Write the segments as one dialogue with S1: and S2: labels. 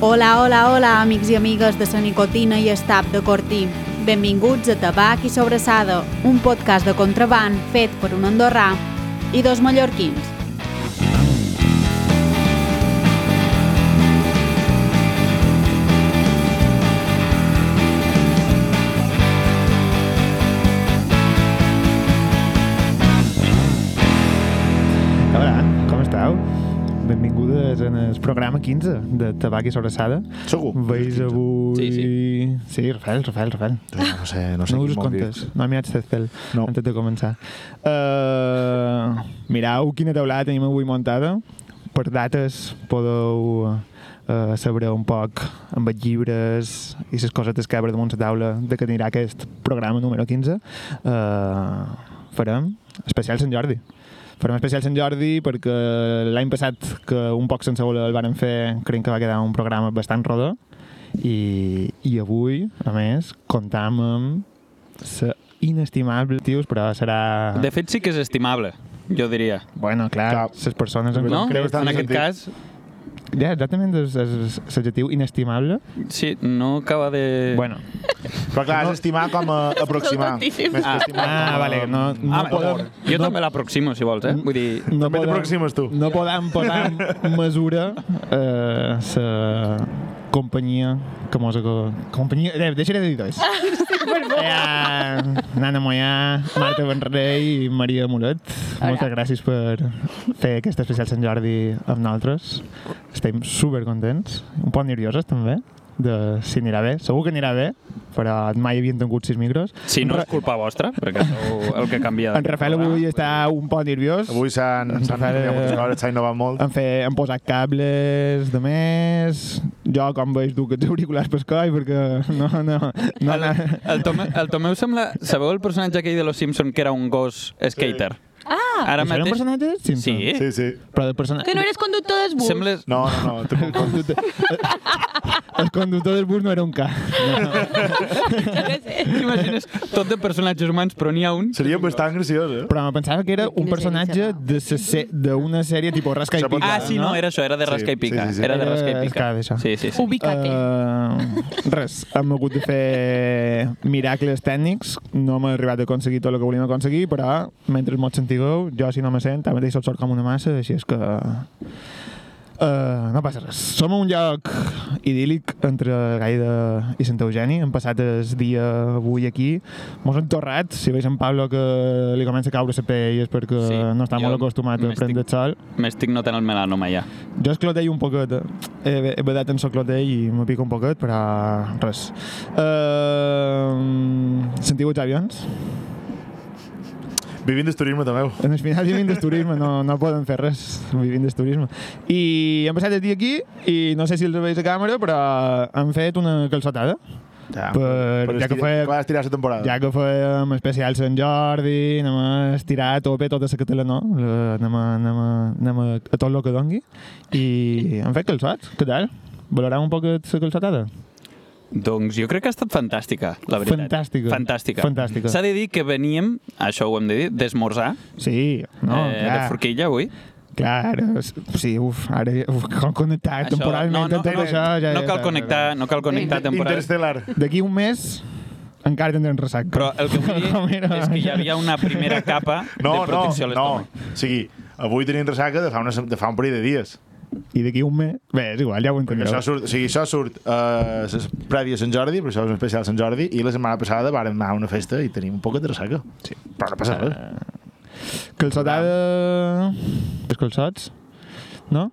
S1: Hola, hola, hola, amics i amigues de la nicotina i estap de Cortí. Benvinguts a Tabac i Sobrassada, un podcast de contraband fet per un andorrà i dos mallorquins.
S2: Hola, com esteu? Benvingudes en el programa 15 de Tabac i Sobrassada.
S3: Segur. Doncs
S2: Veis avui...
S4: Uh, Sí, sí.
S2: Sí, Rafael, Rafael, Rafael.
S3: Ja Doncs No sé, no sé
S2: No
S3: quin
S2: us
S3: món dir.
S2: comptes, no m'hi haig de fer
S3: No.
S2: antes de començar. Uh, mireu quina teulada tenim avui muntada. Per dates podeu uh, saber un poc amb els llibres i les cosetes que hi haurà damunt la taula de que anirà aquest programa número 15. Uh, farem especial Sant Jordi. Farem especial Sant Jordi perquè l'any passat que un poc sense voler el varen fer creiem que va quedar un programa bastant rodó i, i avui, a més, comptam amb la inestimable, tios, però serà...
S4: Ah. De fet, sí que és estimable, jo diria.
S2: Bueno, clar,
S3: Clar.
S2: les persones... En...
S4: No?
S3: creu que està
S4: en
S3: en
S4: aquest cas,
S2: Ja, exactament, és, és l'adjectiu inestimable.
S4: sí, no acaba de...
S2: Bueno,
S3: Però clar, és estimar com a aproximar. Més que estimar
S2: ah,
S3: com a...
S2: vale, no, no Mm.
S4: Ah,
S2: podem...
S4: jo també l'aproximo, si vols, eh? Vull dir...
S2: No
S3: També t'aproximes tu.
S2: No podem posar en mesura eh, la companyia que mos... aco- Companyia... Eh, deixaré de dir dos. Eh, Nana Moyà, Marta Benrei i Maria Moret. Moltes gràcies per fer aquest especial Sant Jordi amb nosaltres. Estem supercontents, un poc nervioses també, de si anirà bé. Segur que anirà bé, però mai havien tingut sis micros.
S4: Si no és culpa vostra, perquè sou el que canvia...
S2: En Rafael avui està un poc nerviós.
S3: Avui s'han
S2: Ens
S3: s'han
S2: fa de-
S3: canviat moltes coses, s'ha innovat molt.
S2: han, fer, han posat cables de més... Jo, com veig, duc els auriculars pel coll perquè no... no, no,
S4: El, el, Tomeu, el Tomeu sembla... Sabeu el personatge aquell de Los Simpson que era un gos skater? Ah!
S2: Això era
S4: Ara
S2: un
S4: mateix...
S2: personatge? del Simpson?
S4: Sí.
S3: Sí, sí.
S2: Però de persona...
S5: Que no eres conductor dels bus.
S4: Sembla...
S3: No, no, no. Tu,
S2: El conductor, el conductor del bus no era un ca.
S4: T'imagines tot de personatges humans, però n'hi ha un...
S3: seria bastant graciós, eh?
S2: Però em pensava que era un personatge de se- se- d'una sèrie tipus Rasca i
S3: Això pot-
S2: Pica.
S4: Ah, sí, no, era això, era de
S3: Sí,
S4: rasca i pica.
S3: sí, sí, sí.
S4: Era de rasca
S2: Era
S4: i pica.
S2: escada, això.
S4: Sí, sí, sí.
S5: Ubícate.
S2: Eh, res, hem hagut de fer miracles tècnics, no hem arribat a aconseguir tot el que volíem aconseguir, però mentre mos sentigueu, jo si no me sent, ara mateix sol sort com una massa, així és que... Uh, no passa res. Som a un lloc idíl·lic entre Gaida i Sant Eugeni. Hem passat el dia avui aquí. Mos hem torrat. Si veus en Pablo que li comença a caure la pell és perquè
S4: Sí,
S2: sí, no està
S4: jo
S2: molt acostumat a
S4: m'estic-
S2: prendre el sol.
S4: M'estic notant el melanoma ja.
S2: Jo es clotell un poquet, eh? he, he badat en so clotell i m'ho pica un poquet, però res. Uh, sentiu els avions?
S3: Vivint d'esturisme, també.
S2: En el final vivim del turisme, no, no poden fer res, vivim del turisme. I hem passat el dia aquí, i no sé si els veus a càmera, però han fet una calçotada.
S3: Ja,
S2: Per- ja que feia-
S3: Clar, Ah, estirar la temporada.
S2: Ja que fèiem especial Sant Jordi, anem a estirar a tope tota la catalana, no? anem, a, anem, a, anem a, a tot el que dongui. I han fet calçots, què tal? Valorem un poquet la calçotada?
S4: Doncs jo crec que ha estat fantàstica, la veritat.
S2: Fantàstica.
S4: Fantàstica.
S2: Fantàstica.
S4: S'ha de dir que veníem, això ho hem de dir, d'esmorzar
S2: Sí, no,
S4: eh, de
S2: clar.
S4: forquilla avui.
S2: Clar, ara, sí, uf, ara uf, cal connectar això, Ah, temporalment
S4: no,
S2: amb tot
S4: no,
S2: això. Ja,
S4: no cal connectar, no cal connectar temporal.
S3: Interestel·lar.
S2: D'aquí un mes encara tindrem ressaca.
S4: Però el que vull
S2: Com
S4: dir
S2: era?
S4: és que hi havia una primera capa
S3: No,
S4: de
S3: no,
S4: protecció a
S3: no.
S4: l'estómac.
S3: O sigui, avui tenim ressaca de fa, una, de fa un parell de dies.
S2: I d'aquí un mes... Bé, és igual, ja ho
S3: Perquè
S2: entendreu.
S3: això surt, o sigui, això surt eh, s- prèvia a Sant Jordi, però això és un especial Sant Jordi, i la setmana passada vàrem anar a una festa i tenim un poc de ressaca. Sí. Però no passa res.
S2: Calçotada... Els calçots? No?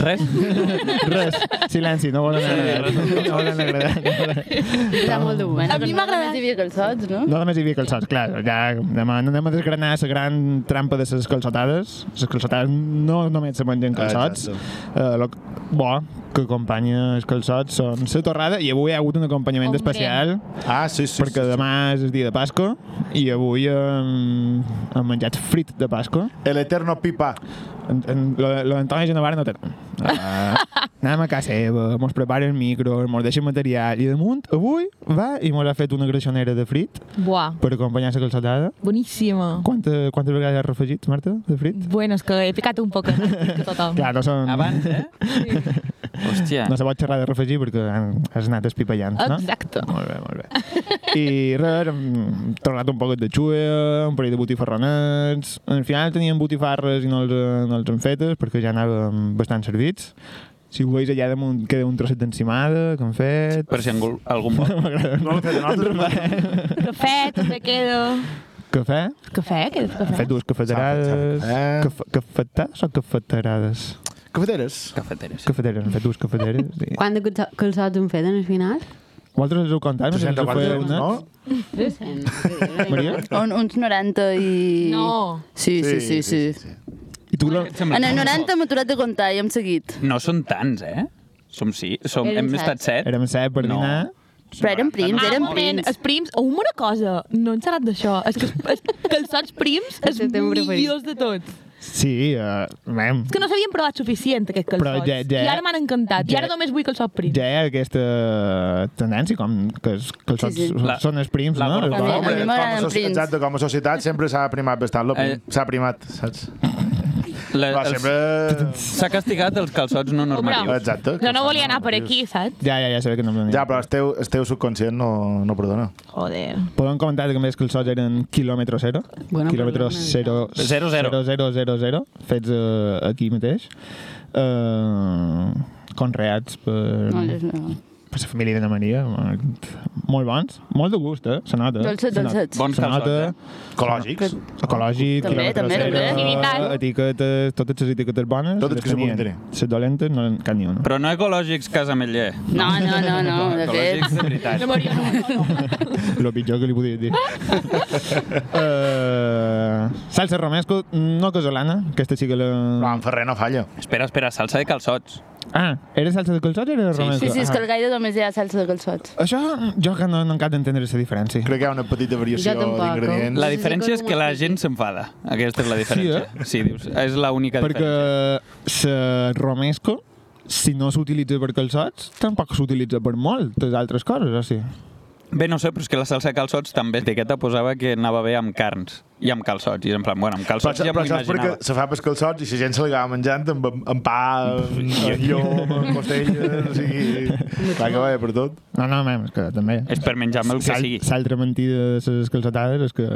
S4: Res?
S2: Res. Silenci, no volen agradar. No volen agradar.
S6: Era molt dur, eh?
S5: A mi m'ha agradat.
S6: Només hi havia calçots, no?
S2: No només hi havia calçots, clar, ja anem a, anem a desgranar la gran trampa de les calçotades. Les calçotades no només se mengen calçots.
S3: Ah,
S2: Eh, lo bo que acompanya els calçots són la torrada i avui hi ha hagut un acompanyament
S6: Hombre.
S2: especial
S3: Ah, sí, sí.
S2: perquè
S3: sí,
S2: demà és el dia de Pasco i avui hem, hem menjat frit de Pasco.
S3: sí. El eterno pipa.
S2: En, en, lo, lo d'Antoni Genovar no tenen. Uh, anem a casa seva, mos preparen micros, mos deixen material i damunt avui va i mos ha fet una greixonera de frit
S5: Buah,
S2: per acompanyar la calçotada.
S5: boníssima.
S2: Quanta, quantes vegades has refregit, Marta, de frit?
S5: Bueno, és que he picat un poc. eh? Pico total.
S2: Clar, no són...
S4: Abans, eh? Hòstia.
S2: No se pot xerrar de refregir perquè han- has anat espipallant,
S5: Ah,
S2: no?
S5: Exacte.
S2: Molt bé, molt bé. I res, hem tornat un poquet de xue, un parell de botifarronets... Al final teníem botifarres i no els, eh, no els hem fetes perquè ja anàvem bastant servits. Si ho veus allà damunt queda un trosset d'encimada que hem fet...
S4: Per si algú, algun vol.
S2: M'agrada.
S3: No l'hem fet a nosaltres,
S5: Cafè, te quedo.
S2: Cafè?
S5: Cafè, quedes
S2: Hem fet
S5: cafè?
S2: dues cafeterades...
S3: Sap, sap,
S2: Caf cafetars o cafeterades?
S3: Cafeteres.
S4: Cafeteres.
S2: Cafeteres, hem fet dues cafeteres. Sí.
S7: Quant de calço- calçots hem fet en el final?
S2: Vosaltres us heu contat? no sé si us heu
S3: 64
S2: fet
S3: euros,
S2: una.
S3: no?
S7: 300.
S2: Maria?
S6: Un, uns 90 i...
S5: No.
S6: Sí, sí, sí. sí,
S2: I tu, la...
S6: En el 90 m'he aturat de comptar i hem seguit.
S4: No són tants, eh? Som sí, som,
S7: Érem
S4: hem
S7: set.
S4: estat set.
S2: érem set per
S4: No.
S2: dinar...
S6: Però eren prims,
S5: Ah, un
S6: eren
S5: moment,
S6: prims.
S5: els prims... O una cosa, no ens serà d'això. És que els, els calçots prims és
S7: És el teu
S5: millors
S7: preferit.
S5: de tots.
S2: Sí, uh, mem,
S5: És que no s'havien provat suficient, aquests calçots.
S2: ja- ja-
S5: I ara m'han encantat.
S2: ja-
S5: I ara només vull calçot prim.
S2: ja hi ha aquesta tendència com que, els- que els
S6: Sí,
S2: sí,
S6: sí.
S2: sí.
S4: La-
S2: són els prims,
S4: la
S2: no?
S4: gorra.
S6: A mi-
S3: Home,
S6: a mi
S3: com
S6: m'agraden
S3: a soci-
S6: prims.
S3: Exacte, com a societat sempre s'ha primat bastant. lo prim.
S4: Eh.
S3: S'ha primat, saps?
S4: La,
S3: Però
S4: els-
S3: sempre...
S4: S'ha castigat els calçots no normatius.
S3: Exacte.
S5: Jo no volia anar per aquí, saps?
S2: Ja, ja, ja sabia que no em donia.
S3: Ja, però el teu, el teu subconscient no, no perdona.
S5: Joder.
S2: Podem comentar que més que els sots eren quilòmetre zero.
S7: Bueno,
S2: quilòmetre
S7: perdona,
S2: zero,
S4: Zero, zero.
S2: zero, zero, zero, fets eh, aquí mateix. Uh, conreats per,
S6: No, jo no.
S2: per la família de la Maria. Molt bons, molt de gust, eh? Se nota.
S6: Dolçet,
S2: se nota.
S6: dolçet.
S4: Bons
S2: Se
S4: calçots,
S2: nota.
S4: eh?
S3: Ecològics.
S2: Ecològic,
S6: També,
S2: quilòmetre
S6: també,
S2: zero,
S6: també.
S5: Activitat.
S2: etiquetes, totes les etiquetes bones.
S3: Totes que se puguin tenir.
S2: Les dolentes, no cap ni una.
S4: Però no ecològics, casa Ametller.
S6: No, no, no, no, de
S4: Ecològics,
S6: fet.
S4: de veritat.
S2: Lo pitjor que li podia dir. uh, salsa romesco, no casolana, aquesta sí que
S3: Però
S2: la...
S3: en Ferrer no falla.
S4: Espera, espera, salsa de calçots.
S2: Ah, era salsa de calçots o era romesco?
S6: Sí, sí, és que
S2: Ah.
S6: el gaire només hi ha salsa de calçots.
S2: Això jo que no, no acabo d'entendre la diferència.
S3: Crec que hi ha una petita variació
S7: Jo tampoc,
S3: d'ingredients.
S4: La
S7: Sí, sí,
S4: diferència és
S7: com
S4: que la
S7: un
S4: gent s'enfada. Aquesta és
S3: eh?
S4: la diferència.
S2: Sí,
S4: Sí, dius, és l'única
S2: Perquè
S4: diferència.
S2: la romesco, si no s'utilitza per calçots, tampoc s'utilitza per moltes altres coses, o sigui.
S4: Bé, no sé, però és que la salsa de calçots també l'etiqueta posava que anava bé amb carns i amb calçots. I és en plan, bueno, amb
S3: Però,
S4: calçots
S3: això-
S4: ja
S3: però
S4: m'ho
S3: això és perquè
S4: imaginava.
S3: se fa pels calçots i la gent se l'acaba menjant amb, amb pa, amb amb llom, amb costelles, o sigui... Clar que va bé per tot.
S2: No, no, mem, és que també...
S4: És per menjar-me el que
S2: Sal-
S4: sigui.
S2: L'altra mentida de les calçotades és que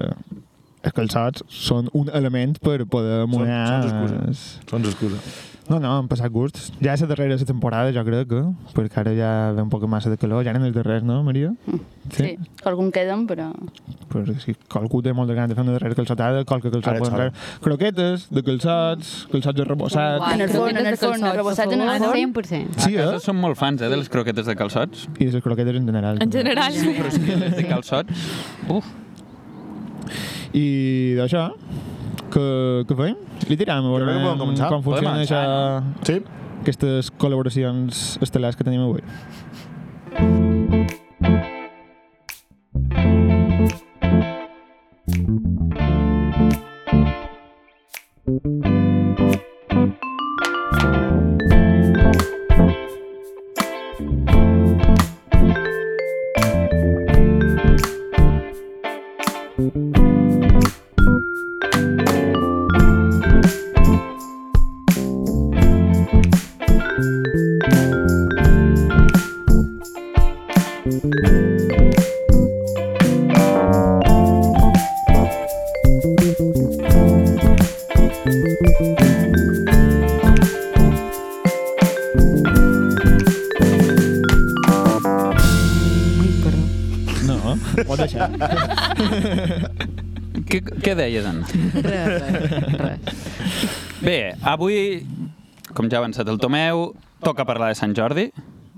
S2: els calçots són un element per poder amonar...
S3: són
S2: els-
S3: Són excuses.
S2: No, no, han passat gusts. Ja és la darrera de temporada, jo crec, eh? perquè ara ja ve un poc massa de calor. Ja eren els darrers, no, Maria?
S6: Sí, que algun queden, però...
S2: Perquè si qualcú té molt de ganes de fer una darrera calçotada, qualque calçot
S3: Ara és
S2: pot
S3: hora.
S2: entrar. Croquetes, de calçots, calçots arrebossats...
S7: Guai.
S6: En el forn, en el forn, rebossat en el
S7: Al
S6: forn.
S7: 100%.
S2: Sí,
S4: A
S2: eh?
S4: casa som Ah, molt fans, eh, de les croquetes de calçots.
S2: I de les croquetes en general.
S5: En
S2: també.
S5: general,
S4: Però és que les de calçots... Uf.
S2: I d'això, que, que fem? Li tirem, a veure
S3: crec que podem
S2: com,
S3: començar.
S2: com funciona
S4: començar,
S2: això...
S3: Sí?
S2: aquestes col·laboracions estel·lars que tenim avui.
S7: Ai, perdó.
S2: No, pot deixar.
S4: Què, què deies, Anna?
S7: Res, res.
S4: Bé, avui, com ja ha avançat el Tomeu, toca parlar de Sant Jordi,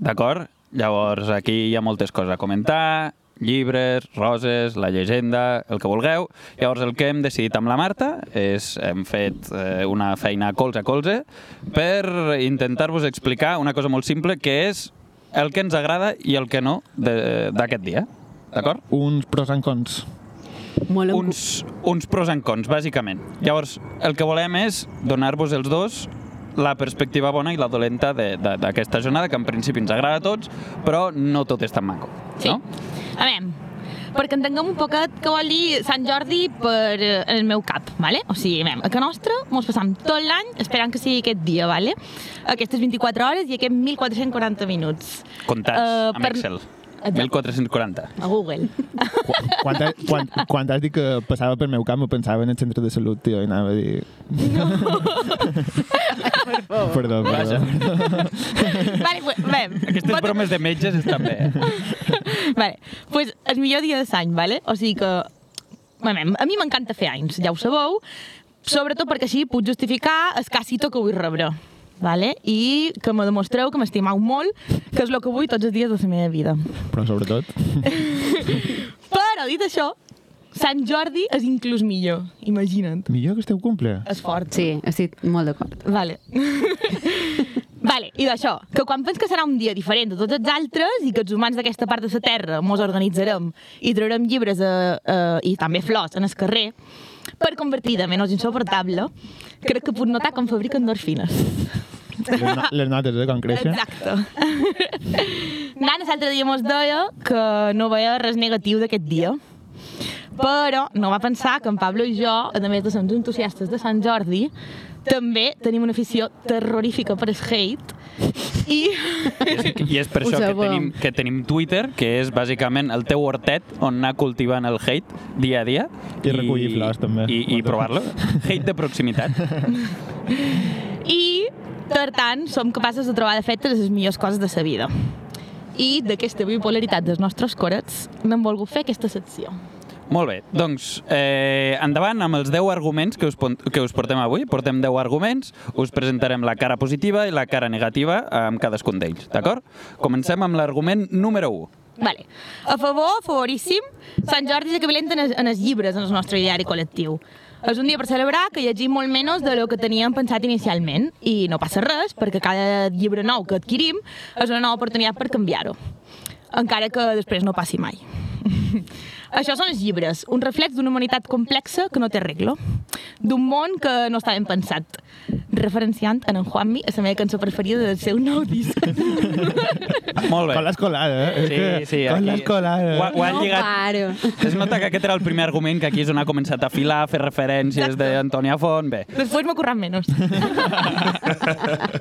S4: d'acord? Llavors, aquí hi ha moltes coses a comentar, llibres, roses, la llegenda, el que vulgueu. Llavors, el que hem decidit amb la Marta és, hem fet eh, una feina colze a colze per intentar-vos explicar una cosa molt simple, que és el que ens agrada i el que no de- d'aquest dia, d'acord?
S2: Uns pros and cons.
S7: Molt en cu-
S4: uns, uns pros and cons, bàsicament. Llavors, el que volem és donar-vos els dos la perspectiva bona i la dolenta de- de- d'aquesta jornada, que en principi ens agrada a tots, però no tot és tan maco.
S5: Sí.
S4: No?
S5: A veure, perquè entenguem un poquet què vol dir Sant Jordi per eh, en el meu cap, vale? o sigui, anem, a que nostra mos passam tot l'any esperant que sigui aquest dia, vale? aquestes 24 hores i aquests 1.440 minuts.
S4: Comptats
S5: Eh,
S4: amb Excel. 1440.
S5: A Google.
S2: Quan, ha- quan, quan has dit que passava pel meu camp, ho pensava en el centre de salut, tio, i anava a dir... No. perdó, perdó.
S5: vale, pues, bé,
S4: Aquestes bromes de metges estan bé. eh?
S5: vale, pues el millor dia de l'any, vale? O sigui que... Bueno, a mi m'encanta fer anys, ja ho sabeu, sobretot perquè així puc justificar el casito que vull rebre. Vale? I que me demostreu que m'estimeu molt, que és el que vull tots els dies de la meva vida.
S2: Però sobretot...
S5: Però, dit això, Sant Jordi és inclús millor, imagina't.
S2: Millor que esteu cumple.
S5: És fort.
S7: Sí, estic molt d'acord.
S5: Vale. vale, i d'això, que quan pens que serà un dia diferent de tots els altres i que els humans d'aquesta part de la Terra mos organitzarem i traurem llibres a, a, i també flors en el carrer, per convertir de menys insuportable, crec que puc notar com fabrica endorfines.
S2: Les, no, les notes, eh, quan creixen.
S5: Exacte. Nana l'altre dia mos deia que no veia res negatiu d'aquest dia, però no va pensar que en Pablo i jo, a més de ser uns entusiastes de Sant Jordi, també tenim una afició terrorífica per el hate i
S4: I és per
S7: Ho
S4: això que
S7: sabem.
S4: tenim, que tenim Twitter, que és bàsicament el teu hortet on anar cultivant el hate dia a dia.
S2: I recollir flors, també.
S4: I, i provar-lo. Hate de proximitat.
S5: I, per tant, som capaces de trobar de fet les millors coses de sa vida. I d'aquesta bipolaritat dels nostres corets n'hem volgut fer aquesta secció.
S4: Molt bé, doncs eh, endavant amb els 10 arguments que us, pon- que us portem avui. Portem 10 arguments, us presentarem la cara positiva i la cara negativa amb cadascun d'ells, d'acord? Comencem amb l'argument número 1.
S5: Vale. A favor, favoríssim, Sant Jordi s'equivalent en, es- en els llibres, en el nostre diari col·lectiu. És un dia per celebrar que llegim molt menys de lo que teníem pensat inicialment i no passa res perquè cada llibre nou que adquirim és una nova oportunitat per canviar-ho, encara que després no passi mai. Això són els llibres, un reflex d'una humanitat complexa que no té regla, d'un món que no està ben pensat, referenciant en en Juanmi a la meva cançó preferida del seu nou disc.
S4: Molt
S2: Con
S4: bé.
S2: les colades, eh?
S4: Sí, sí,
S2: Con
S4: aquí-
S2: les colades.
S4: Ho, ha- ho han
S7: no
S4: lligat,
S7: paro.
S4: Es nota que aquest era el primer argument que aquí és on ha començat a filar, a fer referències d'Antònia Font. Bé,
S5: Després m'ho currat menys.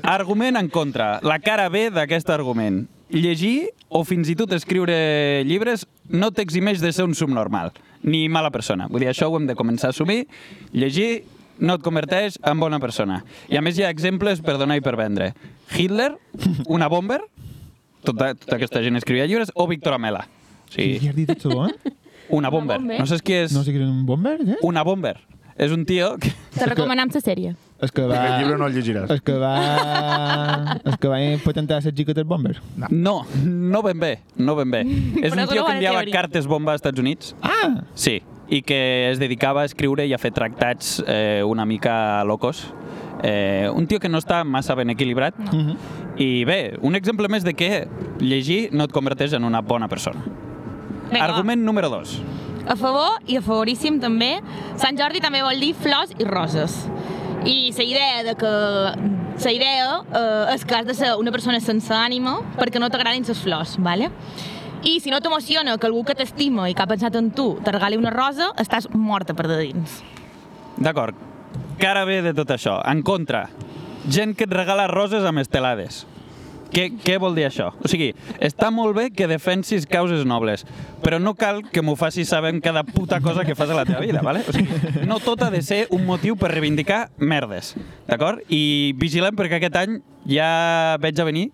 S4: argument en contra. La cara B d'aquest argument. Llegir o fins i tot escriure llibres no t'eximeix de ser un subnormal, ni mala persona. Vull dir, això ho hem de començar a assumir. Llegir no et converteix en bona persona. I a més hi ha exemples per donar i per vendre. Hitler, una bomber, tota, tota aquesta gent escrivia llibres, o Víctor Amela.
S2: Sí. Qui
S4: Sí,
S2: has dit això, eh?
S4: una bomber. No saps qui és?
S2: No sé que era un bomber, eh?
S4: Una bomber. És un tio que...
S5: Te recomanem la sèrie.
S2: És que va...
S3: Aquest llibre no el llegiràs.
S2: És que va... És que va patentar les xiques del bomber.
S4: No, no ben bé, no ben bé. És un tio
S5: Però no
S4: que
S5: vale
S4: enviava
S5: teoria.
S4: cartes bomba als Estats Units.
S2: Ah!
S4: Sí, i que es dedicava a escriure i a fer tractats eh, una mica locos. Eh, un tio que no està massa ben equilibrat. No.
S2: Mhm.
S4: I bé, un exemple més de que llegir no et converteix en una bona persona.
S5: Vinga,
S4: Argument número 2.
S5: va. A favor i a favoríssim també. Sant Jordi també vol dir flors i roses. I la idea de que la idea eh, és que has de ser una persona sense ànima perquè no t'agradin les flors, vale? I si no t'emociona que algú que t'estima i que ha pensat en tu te regali una rosa, estàs morta per de dins.
S4: D'acord. Cara bé de tot això. En contra, gent que et regala roses amb estelades. Què, què vol dir això? O sigui, està molt bé que defensis causes nobles, però no cal que m'ho facis saber en cada puta cosa que fas a la teva vida, ¿vale? O sigui, no tot ha de ser un motiu per reivindicar merdes, d'acord? I vigilem perquè aquest any ja veig a venir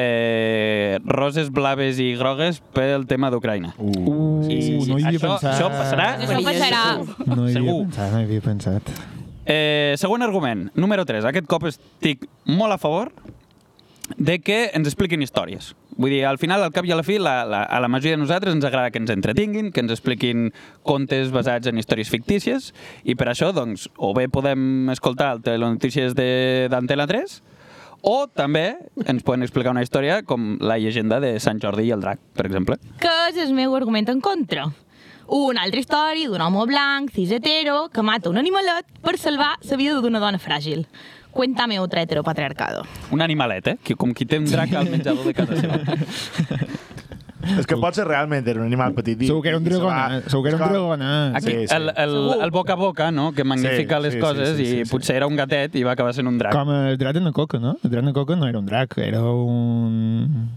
S4: eh, roses blaves i grogues pel tema d'Ucraïna.
S2: Uh,
S4: I
S2: no hi havia
S4: això,
S2: pensat.
S4: Això passarà.
S5: Això passarà.
S2: No hi havia
S4: Segur.
S2: pensat, no hi havia pensat.
S4: Eh, següent argument, número 3. Aquest cop estic molt a favor de que ens expliquin històries. Vull dir, al final, al cap i a la fi, la, la, a la majoria de nosaltres ens agrada que ens entretinguin, que ens expliquin contes basats en històries fictícies, i per això, doncs, o bé podem escoltar el Telenotícies de- d'Antena 3, o també ens poden explicar una història com la llegenda de Sant Jordi i el drac, per exemple.
S5: que és el meu argument en contra. Una altra història d'un home blanc, cis hetero, que mata un animalet per salvar la vida d'una dona fràgil. Cuéntame otra heteropatriarcado.
S4: Un animalet, eh? Que, com qui té un drac al menjador de casa seva.
S3: És que potser realment era un animal petit. i-
S2: Segur que era un
S3: i se va-
S2: dragonat, segur que era un eh?
S3: es va-
S2: dragonat.
S4: Aquí,
S3: Sí, sí.
S4: El, el, el boca a boca, no? que magnifica
S3: Sí,
S4: les
S3: sí,
S4: coses
S3: sí, sí,
S4: i
S3: sí, sí.
S4: potser era un gatet i va acabar sent un drac.
S2: Com el drac de Nacoca, no? El drac de Nacoca no era un drac, era un...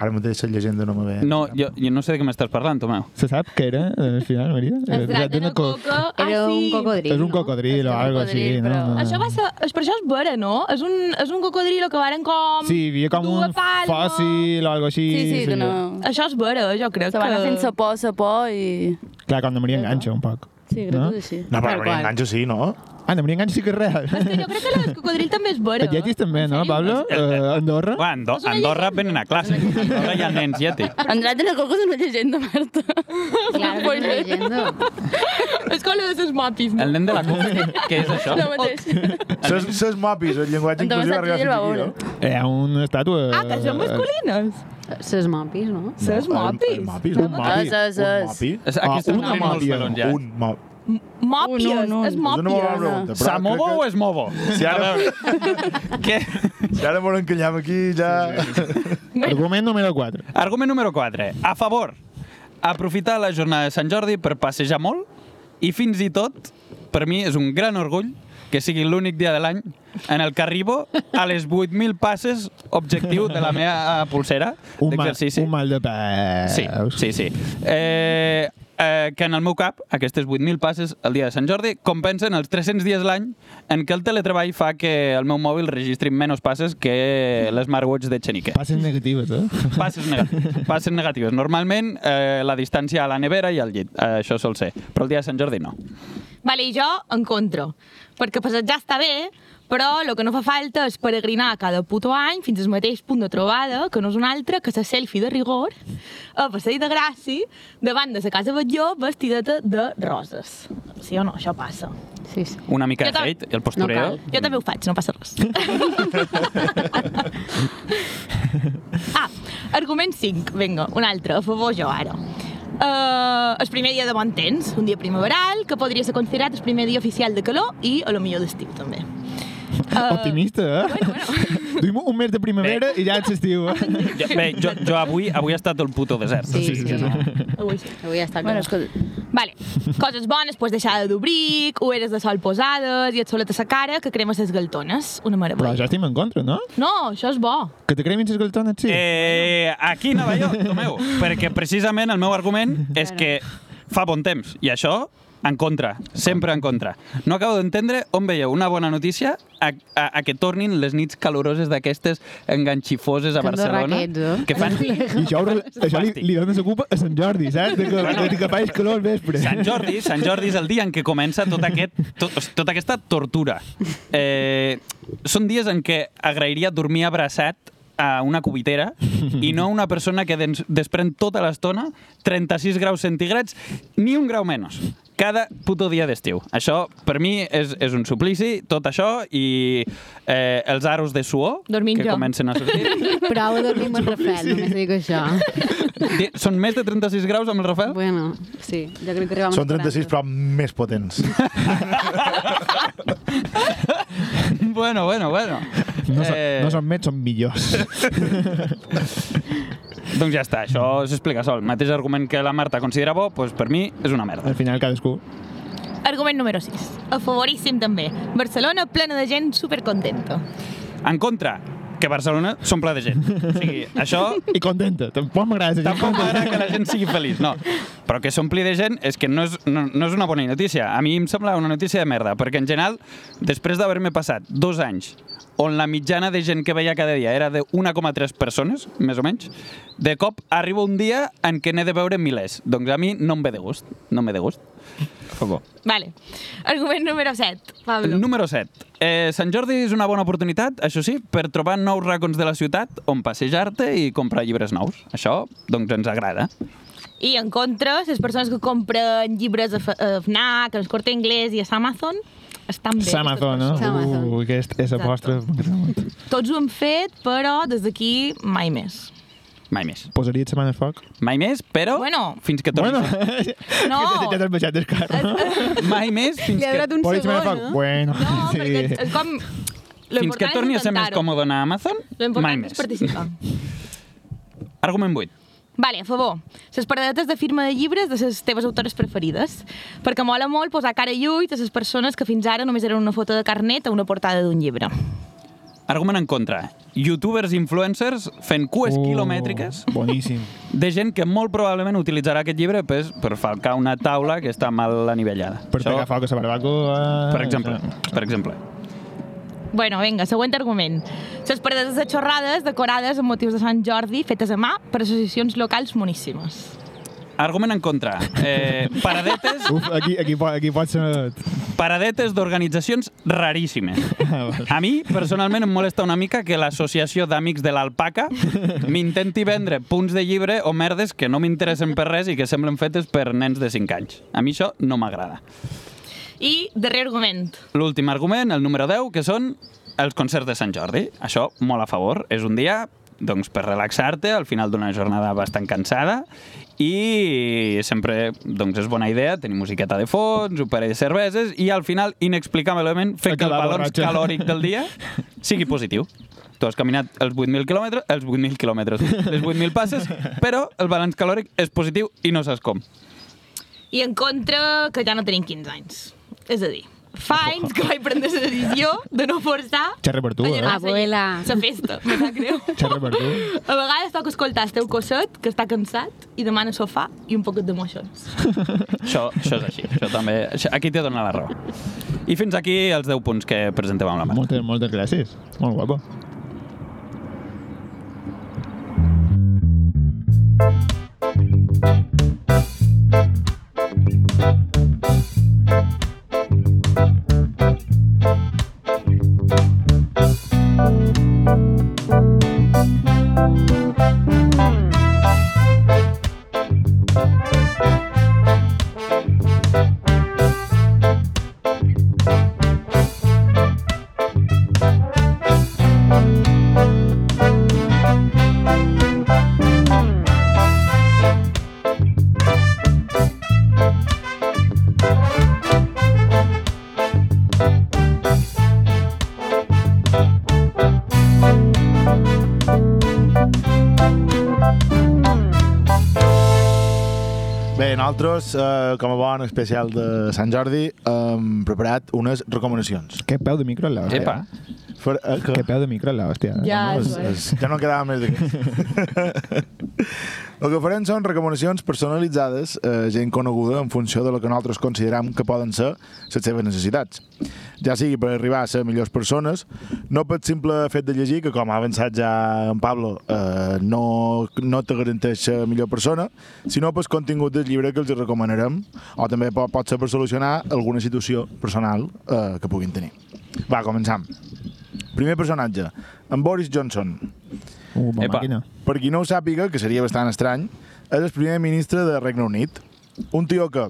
S3: Ara mateix la llegenda no me ve.
S4: No, jo, jo no sé de què m'estàs parlant, Tomeu.
S2: Se sap què era, al final, Maria?
S5: El drac de
S2: una
S5: la coca. Ah,
S7: Era un
S5: sí.
S7: cocodril.
S2: És un
S7: no?
S2: cocodril
S6: És
S2: o
S6: un
S2: algo
S6: cocodril,
S2: així.
S6: però-
S2: No, no.
S5: Això va ser... És per això és vera, no? És un, és un cocodril que varen com...
S2: Sí, hi havia com
S5: dur a
S2: un
S5: palma.
S2: fòssil o algo així.
S6: Sí, sí, d'una...
S5: Això és vera, jo crec
S6: Se van anar
S5: que...
S6: fent sa por, sa por i...
S2: Clar, com de Maria Enganxa, un poc.
S6: Sí, crec
S2: No?
S6: que és així.
S3: No,
S7: Tal
S3: però un
S7: qual.
S3: enganxo sí, no?
S2: Ah, de Maria Enganxa sí que és real.
S5: És que jo crec que la del cocodril també és vera.
S2: Els yetis també, no, Pablo? Uh, Andorra?
S4: Uah, Ando
S5: És una
S4: Andorra venen a classe. A Andorra hi ha nens yeti.
S6: En Drac de la Coca és una llegenda, Marta.
S7: Claro, no
S6: Spoiler.
S7: leyendo.
S5: És com la de ses mapis, no?
S4: El nen de la coca, què- què és això?
S6: Lo mateix.
S3: Ses, ses mapis, el llenguatge
S6: Endavant,
S3: inclusiu
S6: Santi,
S3: arriba fins
S6: el
S3: aquí,
S6: veure.
S3: no?
S2: Hi ha una Eh, estàtua... eh,
S5: Ah, que són masculines.
S7: Ses mapis, no?
S5: Ses
S3: El, el
S5: mapis.
S3: mapis.
S2: Un mapi.
S6: És, és,
S3: Un
S6: és.
S3: mapi.
S4: És-
S2: Ah,
S4: Aquí estan
S2: una
S4: fent molts
S2: mòbia.
S4: pelons ja.
S3: Un mop. Doncs
S5: Mòpies,
S6: Un, un, un.
S5: és
S3: És una molt
S5: mòpies.
S3: bona pregunta. però
S4: Samovo
S3: crec
S4: o
S3: que-
S4: es movo?
S3: Si ara,
S4: Què?
S3: si ara molt encallam aquí, ja...
S2: Argument número 4.
S4: Argument número 4. A favor. Aprofitar la jornada de Sant Jordi per passejar molt i fins i tot, per mi és un gran orgull que sigui l'únic dia de l'any en el que arribo a les 8.000 passes objectiu de la meva eh, pulsera
S2: Un mal,
S4: d'exercici.
S2: un mal de peus.
S4: Sí, sí, sí. Eh, eh, que en el meu cap, aquestes 8.000 passes el dia de Sant Jordi compensen els 300 dies l'any en què el teletreball fa que el meu mòbil registri menys passes que l'Smartwatch de Xenique.
S2: Passes negatives, eh?
S4: Passes negatives. Passes negatives. Normalment, eh, la distància a la nevera i al llit. Eh, això sol ser. Però el dia de Sant Jordi no.
S5: Vale, i jo en contra. Perquè passejar està bé, però el que no fa falta és peregrinar cada puto any fins al mateix punt de trobada, que no és un altre que la selfie de rigor, a Passeig de Gràcia, davant de la Casa Batlló, vestideta de roses. Sí o no? Això passa.
S7: Sí, sí.
S4: Una mica
S5: Jo
S4: de
S5: tam-
S4: hate, el postureo.
S7: No
S5: Jo també ho faig, no passa res. ah, argument 5, vinga, un altre, a favor jo ara. Uh, el primer dia de bon temps, un dia primaveral, que podria ser considerat el primer dia oficial de calor i a lo millor d'estiu també. Eh,
S2: Optimista, eh? Bueno, bueno. Duim un mes de primavera i ja ets estiu, eh?
S4: jo, bé, jo, jo avui, avui ha estat el puto desert.
S7: Sí, sí, sí.
S5: Eh, Avui sí.
S7: Avui està
S6: Bueno,
S7: clar.
S6: escolta,
S5: Vale, coses bones, pues deixar de d'obric, ulleres de sol posades i et solet a la cara que crema ses galtones. Una
S2: Però
S5: meravella.
S2: ja estem en contra, no?
S5: No, això és bo.
S2: Que te cremin ses galtones, sí.
S4: Eh, aquí Nova York, Tomeu, perquè precisament el meu argument és que fa bon temps, i això en contra, sempre en contra. No acabo d'entendre on veieu una bona notícia a, a, a que tornin les nits caloroses d'aquestes enganxifoses a
S7: Que Andorra
S4: Barcelona.
S7: que ets, eh?
S4: Que fan...
S2: I això, ho- això li,
S4: Fàstic.
S2: li dones ocupa a Sant Jordi, saps? De que, de que faig calor al vespre.
S4: Sant Jordi, Sant Jordi és el dia en què comença tot aquest, tot, tota aquesta tortura. Eh, són dies en què agrairia dormir abraçat a una cubitera i no a una persona que dens- desprèn tota l'estona 36 graus centígrads, ni un grau menys. Cada puto dia d'estiu. Això, per mi, és, és un suplici, tot això, i eh, els aros de suor
S5: Dormint
S4: que
S5: jo.
S4: comencen a sortir.
S7: Prou de dormir amb el Rafel, només dic això.
S4: Di- Són més de 36 graus amb el Rafael?
S7: Bueno, sí, jo crec que arribam
S3: Són 36, però més potents.
S4: Bueno, bueno, bueno.
S2: No, són,
S4: Eh,
S2: no són més, són millors.
S4: Doncs ja està, això s'explica sol. Mateix argument que la Marta considera bo, doncs per mi és una merda.
S2: Al final cadascú.
S5: Argument número 6. A favoríssim també. Barcelona plena de gent supercontenta.
S4: En contra, que Barcelona s'omple de gent. O sigui, això
S2: I contenta. Tampoc m'agrada la gent
S4: tampoc
S2: contenta.
S4: m'agrada que la gent sigui feliç, no. Però que s'ompli de gent és que no és, no, no és una bona notícia. A mi em sembla una notícia de merda, perquè en general, després d'haver-me passat dos anys on la mitjana de gent que veia cada dia era de 1,3 persones, més o menys, de cop arriba un dia en què n'he de veure milers. Doncs a mi no em ve de gust. No em ve de gust. Favor.
S5: Vale. Argument número 7. Pablo.
S4: Número 7. Eh, Sant Jordi és una bona oportunitat, això sí, per trobar nous racons de la ciutat on passejar-te i comprar llibres nous. Això, doncs, ens agrada.
S5: I en contra, les persones que compren llibres a F- a FNAC, a Corte Inglés i a Amazon, estan bé.
S2: Samazon, no?
S5: aquestes
S7: Samazon.
S2: Uh, aquest és apostre.
S5: persones. Tots ho han fet, però des d'aquí mai més.
S4: Mai més.
S2: Posaria setmana al foc?
S4: Mai més, però...
S5: Bueno.
S4: Fins que torni.
S2: Bueno,
S4: Bueno.
S5: No.
S2: ja t'has baixat del carro, no?
S4: Mai més fins
S7: Li ha
S4: que...
S7: durat un
S2: Posaria setmana al
S7: segon,
S2: foc?
S7: no?
S2: Bueno,
S5: No, sí. perquè
S2: sí.
S5: és- és com...
S4: Fins que torni a ser més còmode a Amazon, mai
S5: L'important
S4: més.
S5: és participar.
S4: Argument 8.
S5: Vale, a favor. Les paradetes de firma de llibres de les teves autores preferides. Perquè mola molt posar cara i ull de les persones que fins ara només eren una foto de carnet a una portada d'un llibre.
S4: Argument en contra. Youtubers influencers fent cues
S2: Oh,
S4: quilomètriques
S2: Boníssim.
S4: de gent que molt probablement utilitzarà aquest llibre per, per falcar una taula que està mal anivellada.
S2: Per pegar Ah, foc a la barbacoa...
S4: per exemple, per exemple.
S5: Bueno, vinga, següent argument. Les paradetes de xorrades decorades amb motius de Sant Jordi fetes a mà per associacions locals moníssimes.
S4: Argument en contra. Eh, paradetes
S2: Uf, aquí, aquí, po- aquí pot ser...
S4: paradetes d'organitzacions raríssimes. A mi, personalment, em molesta una mica que l'associació d'amics de l'alpaca m'intenti vendre punts de llibre o merdes que no m'interessen per res i que semblen fetes per nens de 5 anys. A mi això no m'agrada.
S5: I darrer argument.
S4: L'últim argument, el número 10, que són els concerts de Sant Jordi. Això, molt a favor. És un dia doncs, per relaxar-te al final d'una jornada bastant cansada i sempre doncs, és bona idea tenir musiqueta de fons, un parell de cerveses i al final, inexplicablement, fer que el
S2: Acabar
S4: balanç
S2: borratxa.
S4: calòric del dia sigui positiu. Tu has caminat els 8.000 quilòmetres, els 8.000 quilòmetres, les 8.000 passes, però el balanç calòric és positiu i no saps com.
S5: I en contra que ja no tenim 15 anys. És a dir, fa anys que vaig prendre la decisió de no forçar
S2: Xerra Oh. per tu, eh?
S5: allargar-se
S7: Abuela.
S5: La festa, me sap greu.
S2: Xerra per tu.
S5: A vegades toca escoltar el teu cosset, que està cansat, i demana sofà i un poquet de moixons.
S4: Això, això és així. Això també, això, aquí t'he donat la raó. I fins aquí els 10 punts que presenteu amb la mà.
S2: Moltes, moltes gràcies. Molt guapo.
S3: Bé, nosaltres, eh, com a bon especial de Sant Jordi, hem preparat unes recomanacions.
S2: Que peu de micro, la hòstia.
S4: Epa,
S3: Per, eh,
S2: Que peu de micro, la hòstia.
S7: Ja,
S3: No,
S7: és,
S3: és, és, ja no en quedava més d'aquest. el que farem són recomanacions personalitzades a eh, gent coneguda en funció de lo que nosaltres consideram que poden ser les seves necessitats. Ja sigui per arribar a ser millors persones, no pel simple fet de llegir, que com ha avançat ja en Pablo, eh, no, no te garanteix ser millor persona, sinó pel contingut del llibre que els hi recomanarem, o també pot, pot ser per solucionar alguna situació personal eh, que puguin tenir. Va, començam. Primer personatge, en Boris Johnson.
S2: Uh, bona
S4: Epa.
S2: màquina.
S3: Per qui no ho sàpiga, que seria bastant estrany, és el primer ministre de Regne Unit. Un tio que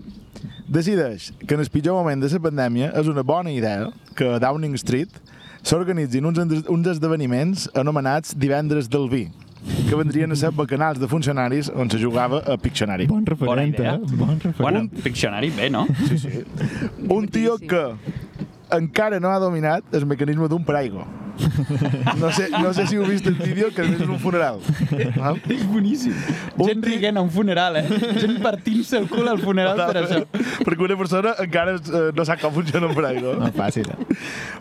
S3: decideix que en el pitjor moment de la pandèmia és una bona idea que a Downing Street s'organitzin uns, endes- uns esdeveniments anomenats divendres del vi, que vendrien a ser bacanals de funcionaris on se jugava a Pictionary.
S2: Bon
S4: bona
S2: referent,
S4: idea.
S2: eh? Bon referent.
S4: Bueno, Pictionary, bé, no?
S3: Sí, sí. Un tio que encara no ha dominat el mecanisme d'un paraigua. No sé, no sé si heu vist el vídeo, que a més és un funeral. Val?
S4: És boníssim.
S3: Un
S4: Gent
S3: tio-
S4: riguent a un funeral, eh? Gent partint-se el cul al funeral per això.
S3: Perquè una persona encara eh, no sap com funciona un paraigua.
S2: No, fàcil. eh?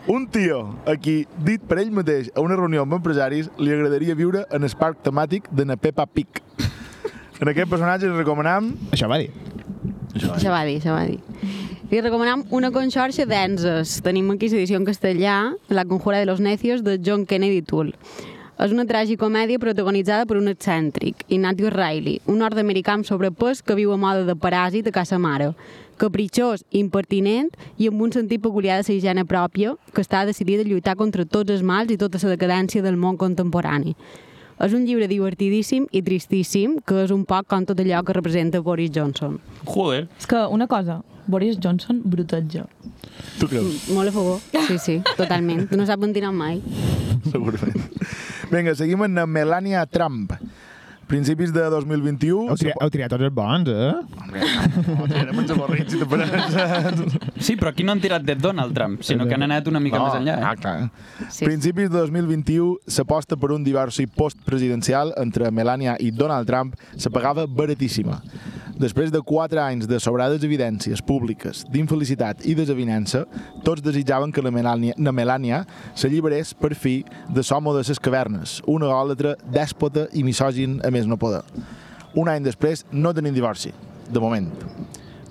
S3: Un tio a qui, dit per ell mateix a una reunió amb empresaris, li agradaria viure en el parc temàtic de na Peppa Pig. En aquest personatge li recomanam...
S2: Això va dir.
S7: Això va dir, això va dir. Li recomanam una conxorxa d'enses. Tenim aquí l'edició en castellà, La conjura de los necios, de John Kennedy Toole. És una tragicomèdia protagonitzada per un excèntric, Ignatius Riley, un nord-americà amb sobrepès que viu a moda de paràsit a casa mare, capritxós, impertinent i amb un sentit peculiar de la higiene pròpia que està decidit a lluitar contra tots els mals i tota la decadència del món contemporani. És un llibre divertidíssim i tristíssim, que és un poc com tot allò que representa Boris Johnson.
S4: Joder.
S5: És que una cosa, Boris Johnson brutatge.
S3: Tu creus?
S7: Molt a favor. Sí, sí, totalment. No s'ha pentinat mai.
S3: Segurament. Vinga, seguim amb Melania Trump, Principis de 2021...
S2: Heu triat, heu triat tots els bons, eh?
S3: Hombre, no, tirarem els avorrits i te prens.
S4: Sí, però aquí no han tirat de Donald Trump, sinó que han anat una mica més enllà.
S3: Ah,
S4: Eh?
S3: clar.
S7: Sí.
S3: Sí. Principis de 2021 s'aposta per un divorci postpresidencial entre Melania i Donald Trump se pagava baratíssima. Després de quatre anys de sobrades evidències públiques d'infelicitat i desavinença, tots desitjaven que la Melania, la Melania s'alliberés per fi de Somo de ses cavernes, una òlatra dèspota i misògin a més no poder. Un any després no tenim divorci, de moment.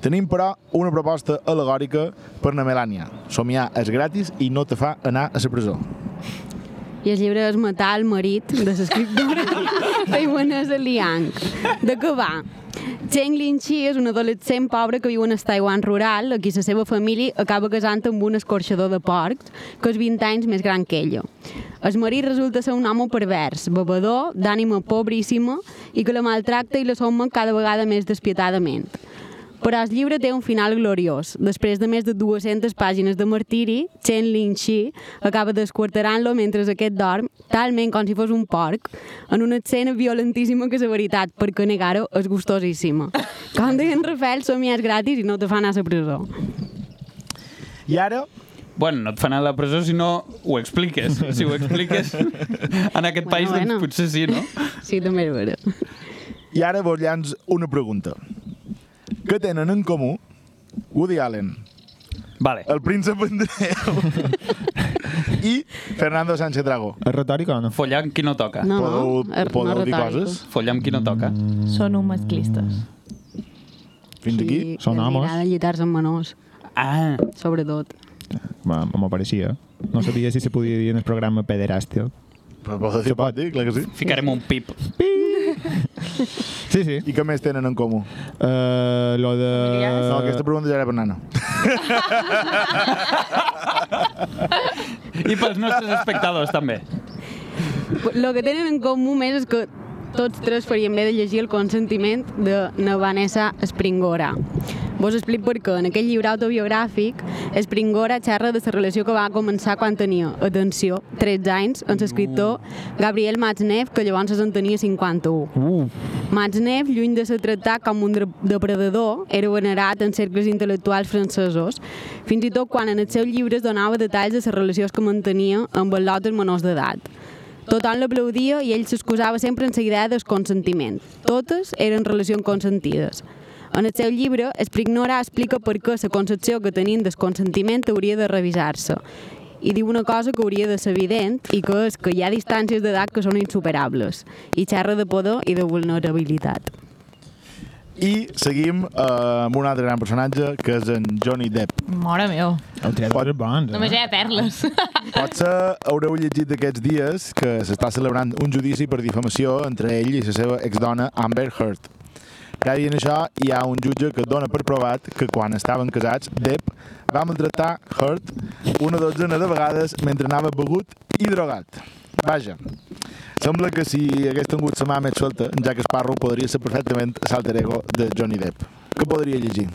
S3: Tenim, però, una proposta al·legòrica per na Melania. Somiar és gratis i no te fa anar a la presó.
S7: I el llibre és Matar el marit de l'escriptora taiwanesa Liang. De què va? Cheng Lin Chi és un adolescent pobre que viu en el Taiwan rural, a qui la seva família acaba casant amb un escorxador de porcs, que és 20 anys més gran que ella. El marit resulta ser un home pervers, bevedor, d'ànima pobríssima, i que la maltracta i la soma cada vegada més despietadament. Però el llibre té un final gloriós. Després de més de 200 pàgines de martiri, Chen Lin-Chi acaba desquarterant-lo mentre aquest dorm, talment com si fos un porc, en una escena violentíssima que la veritat, perquè negar-ho, és gustosíssima. Com deia en Rafael, somiar és gratis i no te fan anar a la presó.
S3: I ara,
S4: Bueno, no et fan a la presó si no ho expliques. Si ho expliques en aquest
S7: Bueno,
S4: país,
S7: bueno.
S4: doncs potser sí, no?
S7: Sí, també és vera.
S3: i ara vos llanç una pregunta. Què tenen en comú Woody Allen,
S4: Vale.
S3: el príncep Andreu i Fernando Sánchez Drago?
S2: És retòric o no?
S4: Follar amb qui no toca.
S7: No, er,
S3: podeu
S7: no, és
S3: podeu
S7: no
S3: dir
S7: retòrico.
S3: coses?
S4: Follar amb qui no toca.
S5: Són un masclistes.
S3: Fins aquí?
S7: Sí,
S2: Són
S7: els
S2: homes.
S7: agrada llitar-se amb menors,
S4: Ah,
S7: sobretot.
S2: Va, M'ho pareixia. No sabia si se podia dir en el programa pederàstia.
S3: Però podeu dir, pot dir, clar que sí.
S4: ficarem un pip.
S2: Sí, sí.
S3: I què més tenen en comú?
S2: Uh, lo de...
S3: No, aquesta pregunta ja era per nana.
S4: I pels nostres espectadors, també.
S7: Lo que tenen en comú més és que tots tres faríem bé de llegir el consentiment de na Vanessa Springora. Vos explico per què. En aquest llibre autobiogràfic, Springora xerra de la relació que va començar quan tenia, atenció, 13 anys, amb l'escriptor Gabriel Matzneff, que llavors en tenia 51.
S2: Uh,
S7: Matzneff, lluny de ser tractat com un dre- depredador, era venerat en cercles intel·lectuals francesos, fins i tot quan en els seus llibres donava detalls de les relacions que mantenia amb els lotes menors d'edat. Tothom l'aplaudia i ell s'excusava sempre en la idea del consentiment. Totes eren relacions consentides. En el seu llibre, Sprignora explica per què la concepció que tenim del consentiment hauria de revisar-se i diu una cosa que hauria de ser evident i que és que hi ha distàncies d'edat que són insuperables i xerra de poder i de vulnerabilitat.
S3: I seguim eh, amb un altre gran personatge, que és en Johnny Depp.
S5: Mora meu.
S2: heu triat
S3: Pot-
S2: tots bons,
S5: Només hi
S2: eh?
S5: ha perles.
S3: Potser haureu llegit d'aquests dies que s'està celebrant un judici per difamació entre ell i la seva exdona Amber Heard. Prèvia en això, hi ha un jutge que dona per provat que quan estaven casats, Depp va maltratar Heard una dotzena de vegades mentre anava begut i drogat. Vaja, sembla que si hagués tingut la mà més suelta, ja que Sparrow podria ser perfectament l'alter ego de Johnny Depp. Què podria llegir?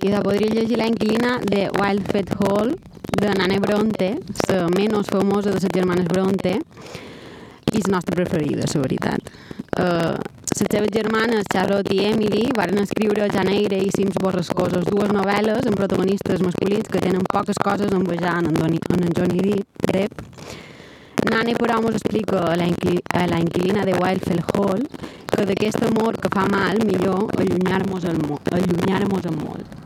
S7: I de podria llegir la inquilina de Wild Fed Hall, de Nane Bronte, la menys famosa de les germanes Bronte, i la nostra preferida, la veritat. Uh, les seves germanes, Charlotte i Emily, varen escriure Janeire i Cims Borrascosos, dues novel·les amb protagonistes masculins que tenen poques coses a envejar en, en, Doni- en en Johnny Depp- Depp. Nane, però, mos explica a la, inqui- a la inquilina de Wildfell Hall que d'aquest amor que fa mal, millor allunyar-nos el mo- allunyar-nos en molt.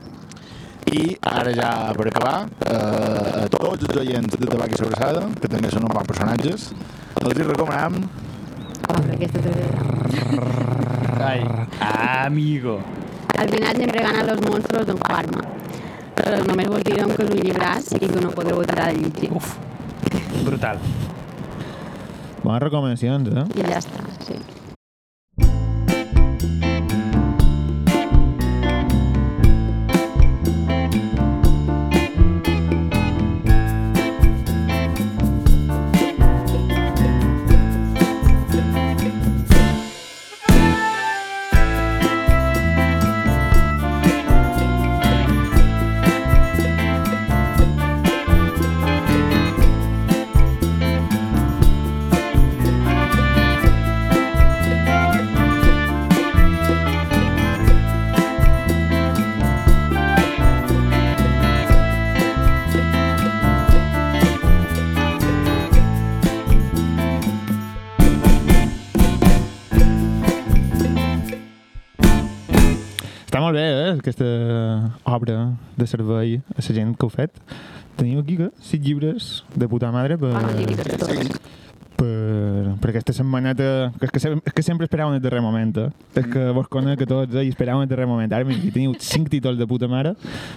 S3: I ara ja per acabar, eh, a tots els oients de Tabac i Sobrassada, que també són uns bons personatges, els hi recomanam
S7: Oh, però aquesta també...
S4: Ai, amigo.
S7: Al final sempre gana los monstruos d'un farma. Però només vos direm que és un llibràs i que no podreu aturar de llegir.
S4: Uf, brutal.
S2: Bones recomanacions, eh?
S7: I ja està, sí.
S2: molt bé, eh, aquesta obra de servei a la gent que ho fet. Teniu aquí que, sis llibres de puta madre per, per, per aquesta setmaneta, que és que, sem- és que sempre esperàvem el darrer moment, eh? És que vos conec que tots, eh, i esperàvem el darrer moment. Ara mira, aquí teniu cinc títols de puta mare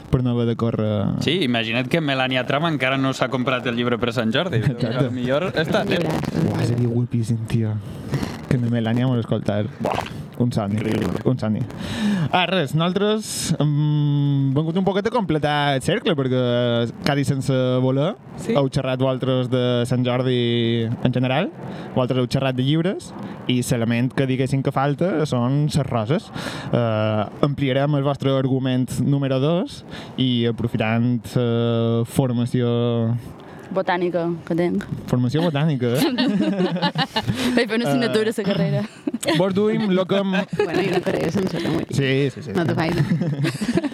S2: per no haver de córrer...
S4: Sí, imagina't que Melania Trump encara no s'ha comprat el llibre per Sant Jordi.
S2: Exacte.
S4: Millor està a temps.
S2: Uah, seria guapíssim, tio. Que no me l'ànim a escoltar. Un somni, un somni. Ah, res, nosaltres mm, hem vengut un poquet a completar el cercle, perquè eh, quasi sense voler sí. heu xerrat vosaltres de Sant Jordi en general, vosaltres heu xerrat de llibres, i l'element que diguéssim que falta són les roses. Uh, ampliarem el vostre argument número 2 i aprofitant la formació,
S6: Botànica, que tinc.
S2: formació botànica, eh?
S6: Vaig fer una assignatura a la carrera.
S2: Vos duim lo que... em-
S7: Bueno, i una carrera sencera, molt bé.
S2: Sí, sí, sí.
S7: No te facis.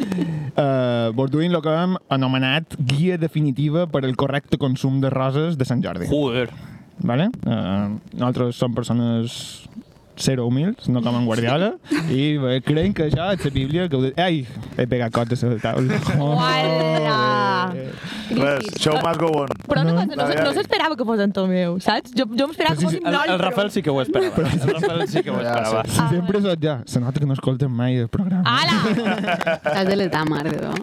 S2: Uh, vos duim lo que hem anomenat guia definitiva per al correcte consum de roses de Sant Jordi.
S4: Joder.
S2: Vale? Uh, nosaltres som persones zero humils, no com en Guardiola, i bé, creiem que això és la Bíblia que ho de... Ai, he pegat cotes a la taula.
S1: Uala!
S2: Joder.
S3: Res, show must go on.
S5: Però una cosa, no,
S3: Dale,
S5: no
S3: dale.
S5: s'esperava que fos Antomeu, saps? Jo, jo m'esperava que fos un
S4: El,
S5: nòl,
S4: el Rafael sí que ho esperava. El Rafael sí que ho
S3: Ja,
S4: esperava.
S2: Si sempre sóc ja. Se nota que no escolten mai el programa.
S5: Ala!
S7: T'has de l'etat, mare, no?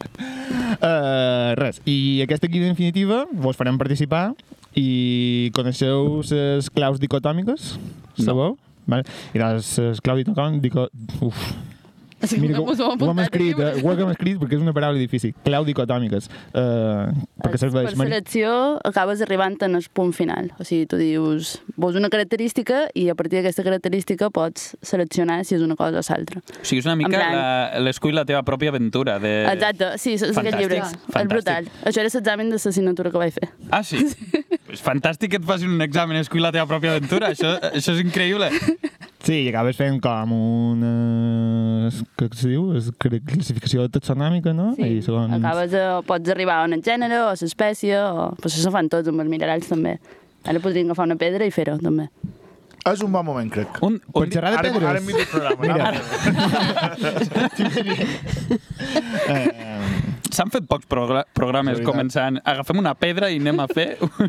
S2: Uh, res, i aquesta guia definitiva vos farem participar i coneixeu les claus dicotòmiques? Sabeu? Vale. I les, les claus dicotòmiques... Dico... Uf.
S6: no
S2: ho,
S6: mos ho hem
S2: ho hem
S6: apuntat
S2: escrit,
S6: aquí,
S2: eh? ho hem escrit perquè és una paraula difícil. Clau dicotòmiques. Uh, perquè serveix...
S6: Per selecció acabes arribant en el punt final. O sigui, tu dius, vols una característica i a partir d'aquesta característica pots seleccionar si és una cosa o l'altra.
S4: O sigui, és una
S6: En
S4: mica
S6: plan-
S4: la- l'escull la teva pròpia aventura. De...
S6: Exacte, sí, és aquest
S4: Eh, fantàstic,
S6: llibre. És
S4: fantàstic.
S6: brutal. Això era l'examen de l'assignatura que vaig fer.
S4: Ah, sí? És fantàstic que et facin un examen escull la teva pròpia aventura. Això, això és increïble.
S2: Sí, i acabes fent com una... Què es diu? Es cre- classificació taxonòmica, no? I segons...
S6: Acabes a, pots arribar a un gènere o a l'espècie, o... Però això se fan tots amb els minerals, també. Ara podríem agafar una pedra i fer-ho, també.
S3: És un bon moment, crec.
S4: Un,
S2: Per
S4: un,
S2: xerrar de
S3: Ara,
S2: pedres.
S3: ara enmig del programa.
S2: Mira.
S3: Ara.
S2: Eh,
S4: S'han fet pocs progra programes
S3: És veritat.
S4: començant agafem una pedra i anem a fer...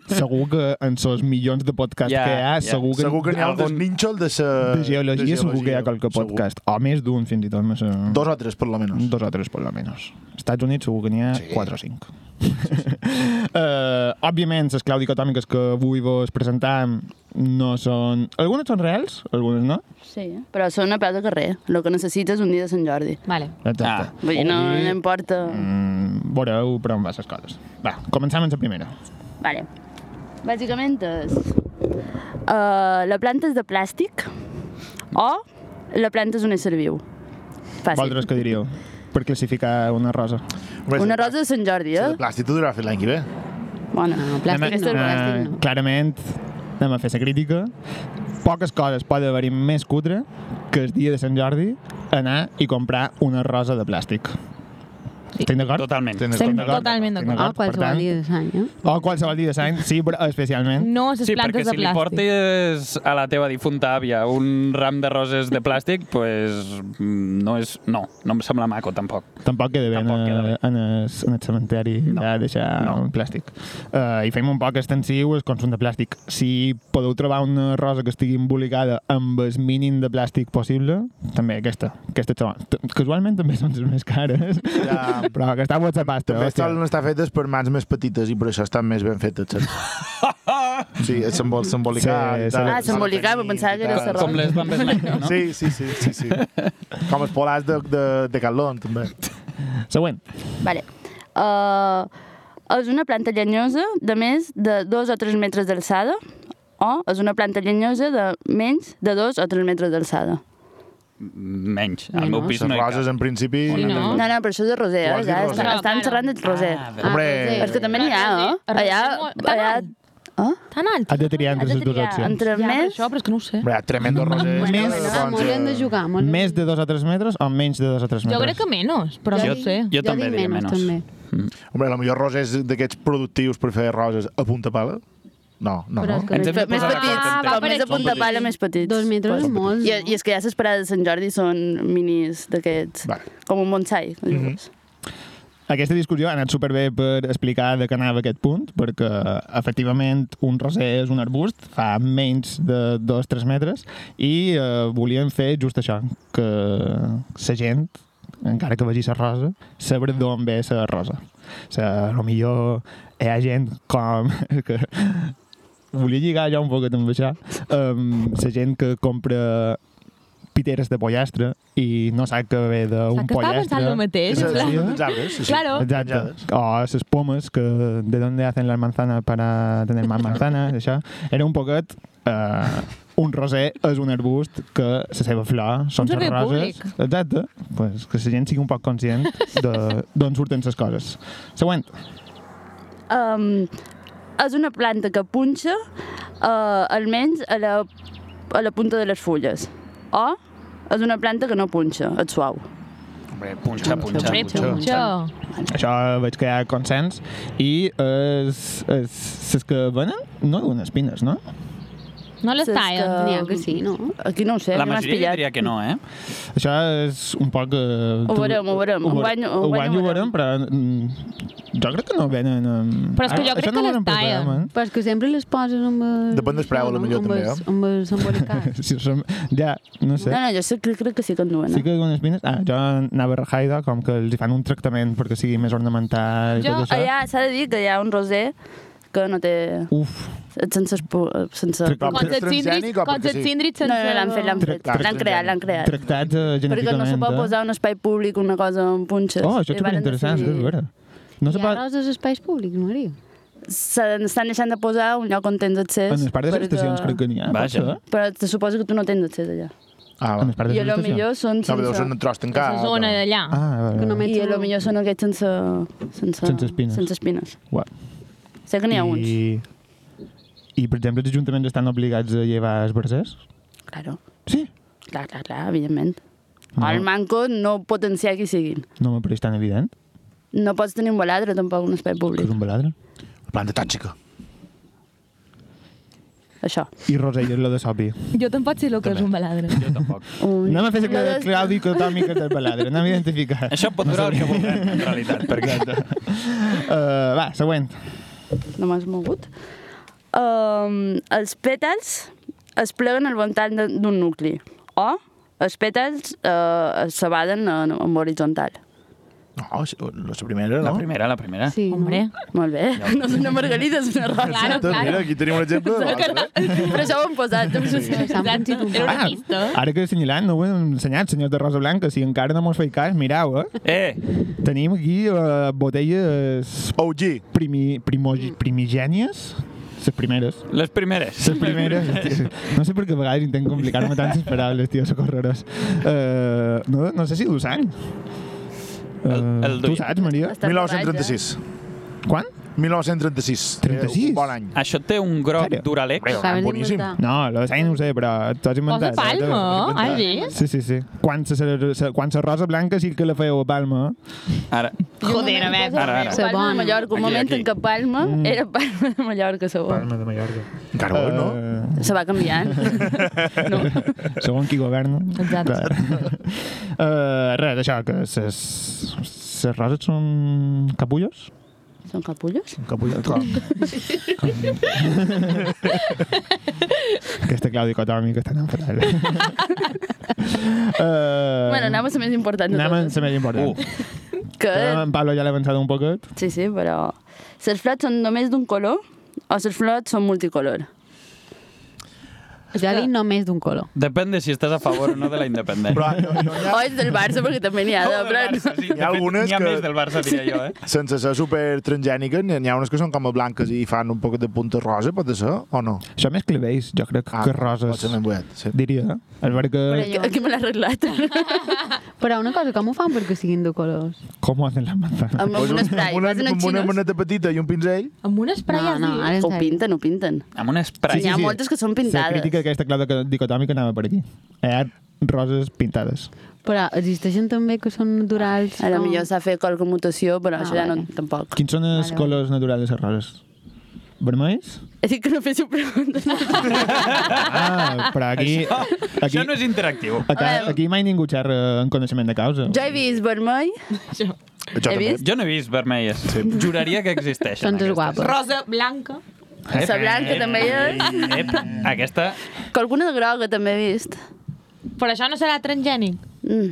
S2: Segur que en els milions de podcasts
S4: Ja,
S2: que hi ha,
S4: ja.
S2: segur que,
S3: Segur que n'hi ha
S4: Algun-
S3: algun ninxol de sa...
S2: de geologia,
S3: Eh, de
S2: segur que hi ha
S3: geologia.
S2: qualque
S3: Segur.
S2: podcast. O més d'un, fins i tot. Més, eh,
S3: Dos o tres, per lo menos.
S2: Dos o tres, per lo menos. Estats Units segur que n'hi ha
S3: Sí.
S2: sí. 4 o 5. uh, òbviament, les clau dicotòmiques que avui vos presentam no són... Algunes són reals, algunes no.
S6: Sí. Però són a peu de carrer. El que necessites un dia de Sant Jordi.
S5: Vale.
S2: Exacte.
S3: Ah.
S6: Vull dir, no, no importa...
S2: Mm, veureu per on va les coses. Va, començam amb la primera.
S6: Vale. Bàsicament és... Uh, la planta és de plàstic o la planta és un ésser viu. Fàcil.
S2: Vosaltres què diríeu? Per classificar una rosa.
S3: Res,
S6: Una rosa de Sant Jordi,
S3: de
S6: eh?
S3: Plàstic, tu durarà fins l'any que ve.
S6: Bona.
S7: No,
S2: Anem a-
S7: plàstic no, plàstic
S2: eh,
S7: no.
S2: Clarament, anem a fer la crítica. Poques coses pot haver-hi més cutre que el dia de Sant Jordi anar i comprar una rosa de plàstic. Estic d'acord?
S4: Totalment.
S3: Tens-
S5: Sempre,
S2: d'acord,
S5: totalment
S2: estic
S5: d'acord.
S7: Ah,
S2: d'acord, per tant.
S7: qualsevol dia de l'any, eh?
S2: O qualsevol dia de Sant, sí, però especialment.
S5: No les
S4: Sí, perquè
S5: plantes
S4: si
S5: de
S4: li
S5: plàstic.
S4: portes a la teva difunta àvia un ram de roses de plàstic, pues, mm, no és... No, no em sembla maco, tampoc.
S2: Tampoc queda bé, en,
S4: Tampoc queda bé.
S2: en, el, en el cementeri no. de deixar no. un plàstic. Uh, I fem un poc extensiu el consum de plàstic. Si podeu trobar una rosa que estigui embolicada amb el mínim de plàstic possible, també aquesta. aquesta és la bona. T- Casualment també són les més cares,
S3: Ja.
S2: però que està guapa la pasta.
S3: També
S2: hòstia.
S3: solen estar fetes per mans més petites i per això estan més ben fetes. saps? sí, és simbol, simbolicar.
S2: Sí,
S3: i tal.
S2: sí.
S6: Ah, simbolicar, però pensava que era
S3: I tal.
S6: serrat.
S4: Com les van Blanca, no?
S3: Sí, sí, sí, sí, sí. Com els polars de, de, de Catlon, també.
S2: Següent.
S6: Vale. Uh, és una planta llenyosa de més de 2 o 3 metres d'alçada o és una planta llenyosa de menys de 2 o 3 metres d'alçada.
S4: Menys. Al meu
S7: Menys.
S4: pis
S3: Les
S4: no hi
S3: roses,
S4: cap.
S3: en principi...
S5: Sí, no?
S6: No, no, però això és de roser, eh?
S3: Vols dir
S6: Ja,
S3: roser?
S6: estan, estan xerrant de roser.
S3: Hombre,
S7: Ah,
S6: Però és que també n'hi ha, eh?
S5: Roser,
S6: Allà...
S5: roser,
S6: allà...
S5: molt-
S6: Eh?
S5: Tan alt.
S2: Has de triar entre
S6: Has de
S2: les dues
S6: triar
S2: opcions.
S4: Ah,
S6: entre
S5: Ja, per
S6: més...
S5: això, però és que no ho sé.
S3: Hombre, tremendo doncs, eh, roser.
S2: Més-
S7: Ah,
S4: doncs,
S7: molt hem
S4: eh,
S7: de jugar, molt hem
S2: Més de dos a tres metres o menys de dos a tres metres?
S5: Jo crec que menys, però no ho sé.
S4: Jo també
S7: dic
S4: diria menys.
S7: també.
S3: Hombre, la millor rosa és d'aquests productius per fer roses a punta pala. No, no,
S7: Però
S3: no.
S7: és que-
S4: Ens hem de
S6: Més
S4: posar
S6: petits,
S4: d'acord,
S5: Ah, va
S6: com
S5: per
S6: més a
S5: aquí.
S6: punt de pala, més petits.
S7: Dos metres és molt.
S6: I, I és que ja les parades de Sant Jordi són minis d'aquests,
S3: Vale.
S6: com un bonsai. Mm -hmm.
S2: Aquesta discussió ha anat superbé per explicar de què anava aquest punt, perquè efectivament un roser és un arbust, fa menys de 2-3 metres, i eh, volíem fer just això, que la gent, encara que vegi la rosa, sabrà d'on ve la rosa. Sa, lo millor hi ha gent com... que volia lligar ja un poquet amb això, um, la gent que compra piteres de pollastre i no sap que ve d'un
S5: Saps que estava
S2: pollastre...
S5: pensant el mateix,
S3: És
S5: en
S3: a-
S5: plan,
S3: dels arbres, sí, sí.
S5: Claro.
S2: Exacto.
S3: Penjadas.
S2: O esas pomes que de dónde hacen las manzanas para tener más manzanas, això. Era un poquet... Eh, un roser és un arbust que la seva flor són les
S5: Un servei
S2: roses.
S5: públic.
S2: Exacte. Pues que la gent sigui un poc conscient de- d'on surten les coses. Següent.
S6: um, és una planta que punxa uh, almenys a la, a la punta de les fulles. O és una planta que no punxa, és suau.
S4: Hombre, punxa, punxa.
S5: Hombre, punxo.
S2: Això veig que hi ha consens. I és, és, les que venen no d'unes espines, no?
S5: No les
S6: Saps
S5: tallen.
S7: N'hi ha que sí, no?
S6: Aquí no ho sé,
S4: La
S6: no m'has
S4: majoria
S6: pillat.
S4: diria que no, eh?
S2: Això és un poc... Eh,
S6: Ho veurem, ho veurem.
S2: Ho,
S6: Ho
S2: vere-
S6: guanyo- ho
S2: ho
S6: guanyo,
S2: guanyo,
S6: ho
S2: ho veurem, però mm, jo crec que no venen... amb-
S5: Però és que
S2: Ara,
S5: jo crec
S2: això no ho
S5: que les
S2: veurem pel
S5: tallen.
S2: programa, eh?
S7: Però és que sempre les poses amb... El...
S3: Depèn del preu, a lo millor,
S7: amb
S3: també,
S7: els-
S3: eh?
S7: Amb els embolicats.
S2: Si som, ja, no sé.
S6: No, no, jo sé, crec, crec que sí que en duen.
S2: Sí
S6: Sí que...
S2: que algunes espines... Ah, jo anava a Rajaida, com que els hi fan un tractament perquè sigui més ornamental i
S5: Jo,
S2: tot això.
S6: Allà Ah, s'ha de dir que hi ha un roser que no té...
S2: Uf,
S6: és Sense... espo- Sense...
S2: Tractat.
S3: Però
S5: Com
S3: perquè
S5: els
S3: és transgènic
S5: cíndrics,
S3: o
S5: com els
S3: perquè sí?
S5: cíndrics
S6: No,
S5: sense...
S6: no, l'han fet, l'han fet.
S3: Tractat.
S6: L'han creat, l'han creat.
S2: tractats eh,
S6: Perquè no
S2: genèticament.
S6: se pot
S2: eh?
S6: posar en un espai públic una cosa amb punxes.
S2: Oh, això
S6: I
S2: és
S6: varen
S2: superinteressant,
S6: decidir-
S2: és vera. No se
S7: Hi ha
S2: pot...
S7: roses als espais públics, Maria.
S6: se n'estan deixant de posar un lloc on tens accés.
S2: En les parts de les estacions crec que n'hi ha. pot
S4: Vaja.
S2: ser?
S6: Però te suposo que tu no tens accés allà.
S3: Ah, va.
S2: En les parts de
S6: I a
S2: les
S6: lo
S2: estacions.
S6: millor són
S3: No, però deu ser un
S6: sense...
S3: tros
S5: La
S3: tancat. doncs.
S5: zona
S3: o-
S5: d'allà.
S2: Ah, a
S7: Que
S2: veure.
S7: només
S6: I a lo millor són aquests sense... Sense,
S2: Sense espines.
S6: Sense espines.
S2: Uah.
S6: Sé que n'hi ha uns,
S2: I, I, per exemple, els ajuntaments estan obligats a llevar els versers?
S6: claro.
S2: Sí.
S6: Clar, clar, clar, evidentment.
S2: No.
S6: No. El manco no potenciar qui siguin.
S2: No me pareix tan evident
S6: No pots tenir un baladre tampoc en un espai
S2: que és
S6: públic.
S2: un baladre.
S3: Planta tòxica.
S6: Això.
S2: I Rosell és lo de Sopi.
S5: Jo tampoc sé el que és un baladre.
S4: Jo tampoc.
S6: Un...
S2: Anem a fer la
S6: No,
S2: clau-
S6: no,
S2: clau dicotòmica del baladre. Anem a identificar.
S4: Això pot durar el que vulguem, en realitat, perquè...
S2: Uh, va, següent.
S6: no m'has mogut. Um, els pètals es pleguen al voltant de- d'un nucli o els pètals eh, es s'abaden en, en horitzontal.
S3: No, la primera,
S4: La
S3: no?
S4: primera, la primera.
S7: Sí,
S5: Hombre.
S6: Molt bé, no és una margarida, és una rosa.
S5: Claro,
S3: Doncs Mira,
S5: claro.
S3: aquí tenim un exemple. de l'altre.
S6: Però això ho hem posat.
S7: S'han punxit un
S5: Era
S7: poc.
S5: una pista.
S2: Ah, ara que he assenyalat, no ho he ensenyat, senyors de Rosa Blanca, si encara no mos feia cas, mireu, eh?
S4: Eh,
S2: Tenim aquí uh, botelles
S3: OG.
S2: primi, primogi, primigènies, les primeres.
S4: les primeres.
S2: Les primeres. hòstia, No sé per què a vegades intento complicar-me tantes paraules, tio, socorrerós. Uh, no, no sé si dos anys.
S4: El- el
S2: tu
S4: duia.
S2: saps, Maria?
S3: 1936.
S2: Quan?
S3: 1936.
S2: 36?
S3: Eh, Bon any.
S4: Això té un groc
S2: Sèrio?
S4: d'Uralex.
S3: Déu,
S7: Saben
S3: boníssim.
S7: inventar.
S2: No, lo de Sainz no ho sé, però t'ho has
S5: Cosa
S2: inventat.
S5: palma,
S2: eh?
S5: has vist?
S2: Sí, sí, sí. Quan se, se, se, quan se rosa blanca sí que la fèieu a Palma. eh?
S4: Ara,
S5: Joder, a veure.
S4: ara, ara.
S6: Palma de
S7: Sí. Sabona.
S6: Mallorca, un
S4: Aquí,
S6: moment
S4: aquí.
S6: en què Palma era Palma de Mallorca, segon.
S2: de Mallorca.
S3: Encara ho és, no?
S6: Se va canviant. no.
S2: Segons Eh, qui governa.
S5: Exacte.
S2: uh, res, això, que ses, ses roses són capullos?
S6: Són capullos?
S2: Capullos, com? Aquesta clau dicotòmica està tan fatal. uh,
S6: Bueno, anem a la més important de
S2: anem a
S6: totes.
S2: la més important.
S4: Uh,
S2: Uh,
S6: Que...
S2: en Pablo ja l'ha avançat un poquet.
S6: Sí, sí, però... Les flors són només d'un color o les flors són multicolor?
S7: Ja li només d'un color.
S4: depèn de si estàs a favor o no de la independència.
S3: Però no, no hi ha,
S6: O és del Barça, perquè també n'hi ha de... Però...
S4: sí, de
S3: Hi ha
S4: fet,
S3: algunes
S4: N'hi ha
S3: que-
S4: més del Barça, diria jo, eh?
S3: sense ser super transgèniques, n'hi ha unes que són com a blanques i fan un poc de punta rosa, pot ser, o no? Ah,
S2: Això més clavells, jo crec
S4: Ah,
S2: que
S3: Pot
S2: roses.
S3: ser ben boet, sí.
S2: Diria, és veritat que
S6: Aquí- Aquí me l'ha arreglat.
S7: Però una cosa, com ho fan perquè siguin de colors?
S2: com ho hacen les manzanas.
S6: amb, amb un esprai.
S3: Amb una,
S6: Vas en els
S3: amb una
S6: xinos.
S3: maneta petita i un pinzell,
S5: Amb un esprai
S7: No, no, ara és
S6: Ho
S7: seriós.
S6: pinten, ho pinten.
S4: Amb un
S6: Sí,
S4: spray.
S6: N'hi ha
S2: sí.
S6: moltes que són
S2: La
S6: pintades.
S2: crítica aquesta clau dico- dicotòmica anava per aquí. Eh, Hi ha roses pintades.
S7: Però existeixen també que són naturals.
S6: A lo
S7: com-
S6: millor s'ha fet qualque mutació, però
S7: Ah,
S6: això ja no,
S7: vale.
S6: tampoc.
S2: Quins són els
S7: Vale,
S2: colors naturals de les roses? Vermells?
S6: És que no fes preguntes.
S2: Ah, però aquí...
S4: Això,
S2: aquí
S4: això no és interactiu.
S2: Acá, aquí mai ningú xerra en coneixement de causa.
S6: Jo he vist vermell,
S3: Jo
S6: he vist
S4: Jo no he vist vermelles. Sí. Juraria que existeixen.
S7: Doncs és
S4: aquestes.
S7: guapa.
S5: Rosa, blanca.
S4: Ep,
S6: La blanca
S4: ep,
S6: també hi és.
S4: Ep, aquesta...
S6: que alguna de groga també he vist.
S5: Però això no serà transgènic.
S6: Mm.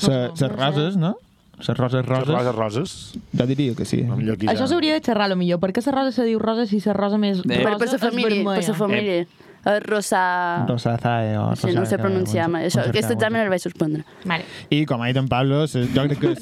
S2: Sa, ses roses, no? Ses roses roses.
S3: Roses, roses.
S2: Jo diria que sí.
S3: No,
S6: Ah.
S3: millor aquí
S5: Això
S3: ja.
S5: s'hauria de xerrar, lo millor. Per què la rosa se diu rosa si la rosa més rosa
S4: Per-
S6: Per, per sa
S5: és
S6: família, per sa
S5: vermella?
S6: família. Eh, Rosà...
S2: Rosazae o
S6: Sí, no ho sé
S2: rosaca,
S6: pronunciar,
S2: un-
S6: mai. Això,
S2: un cercau,
S6: aquest examen
S2: un-
S6: el vaig suspendre.
S5: Vale.
S2: I com ha dit en Pablo, se- jo crec que,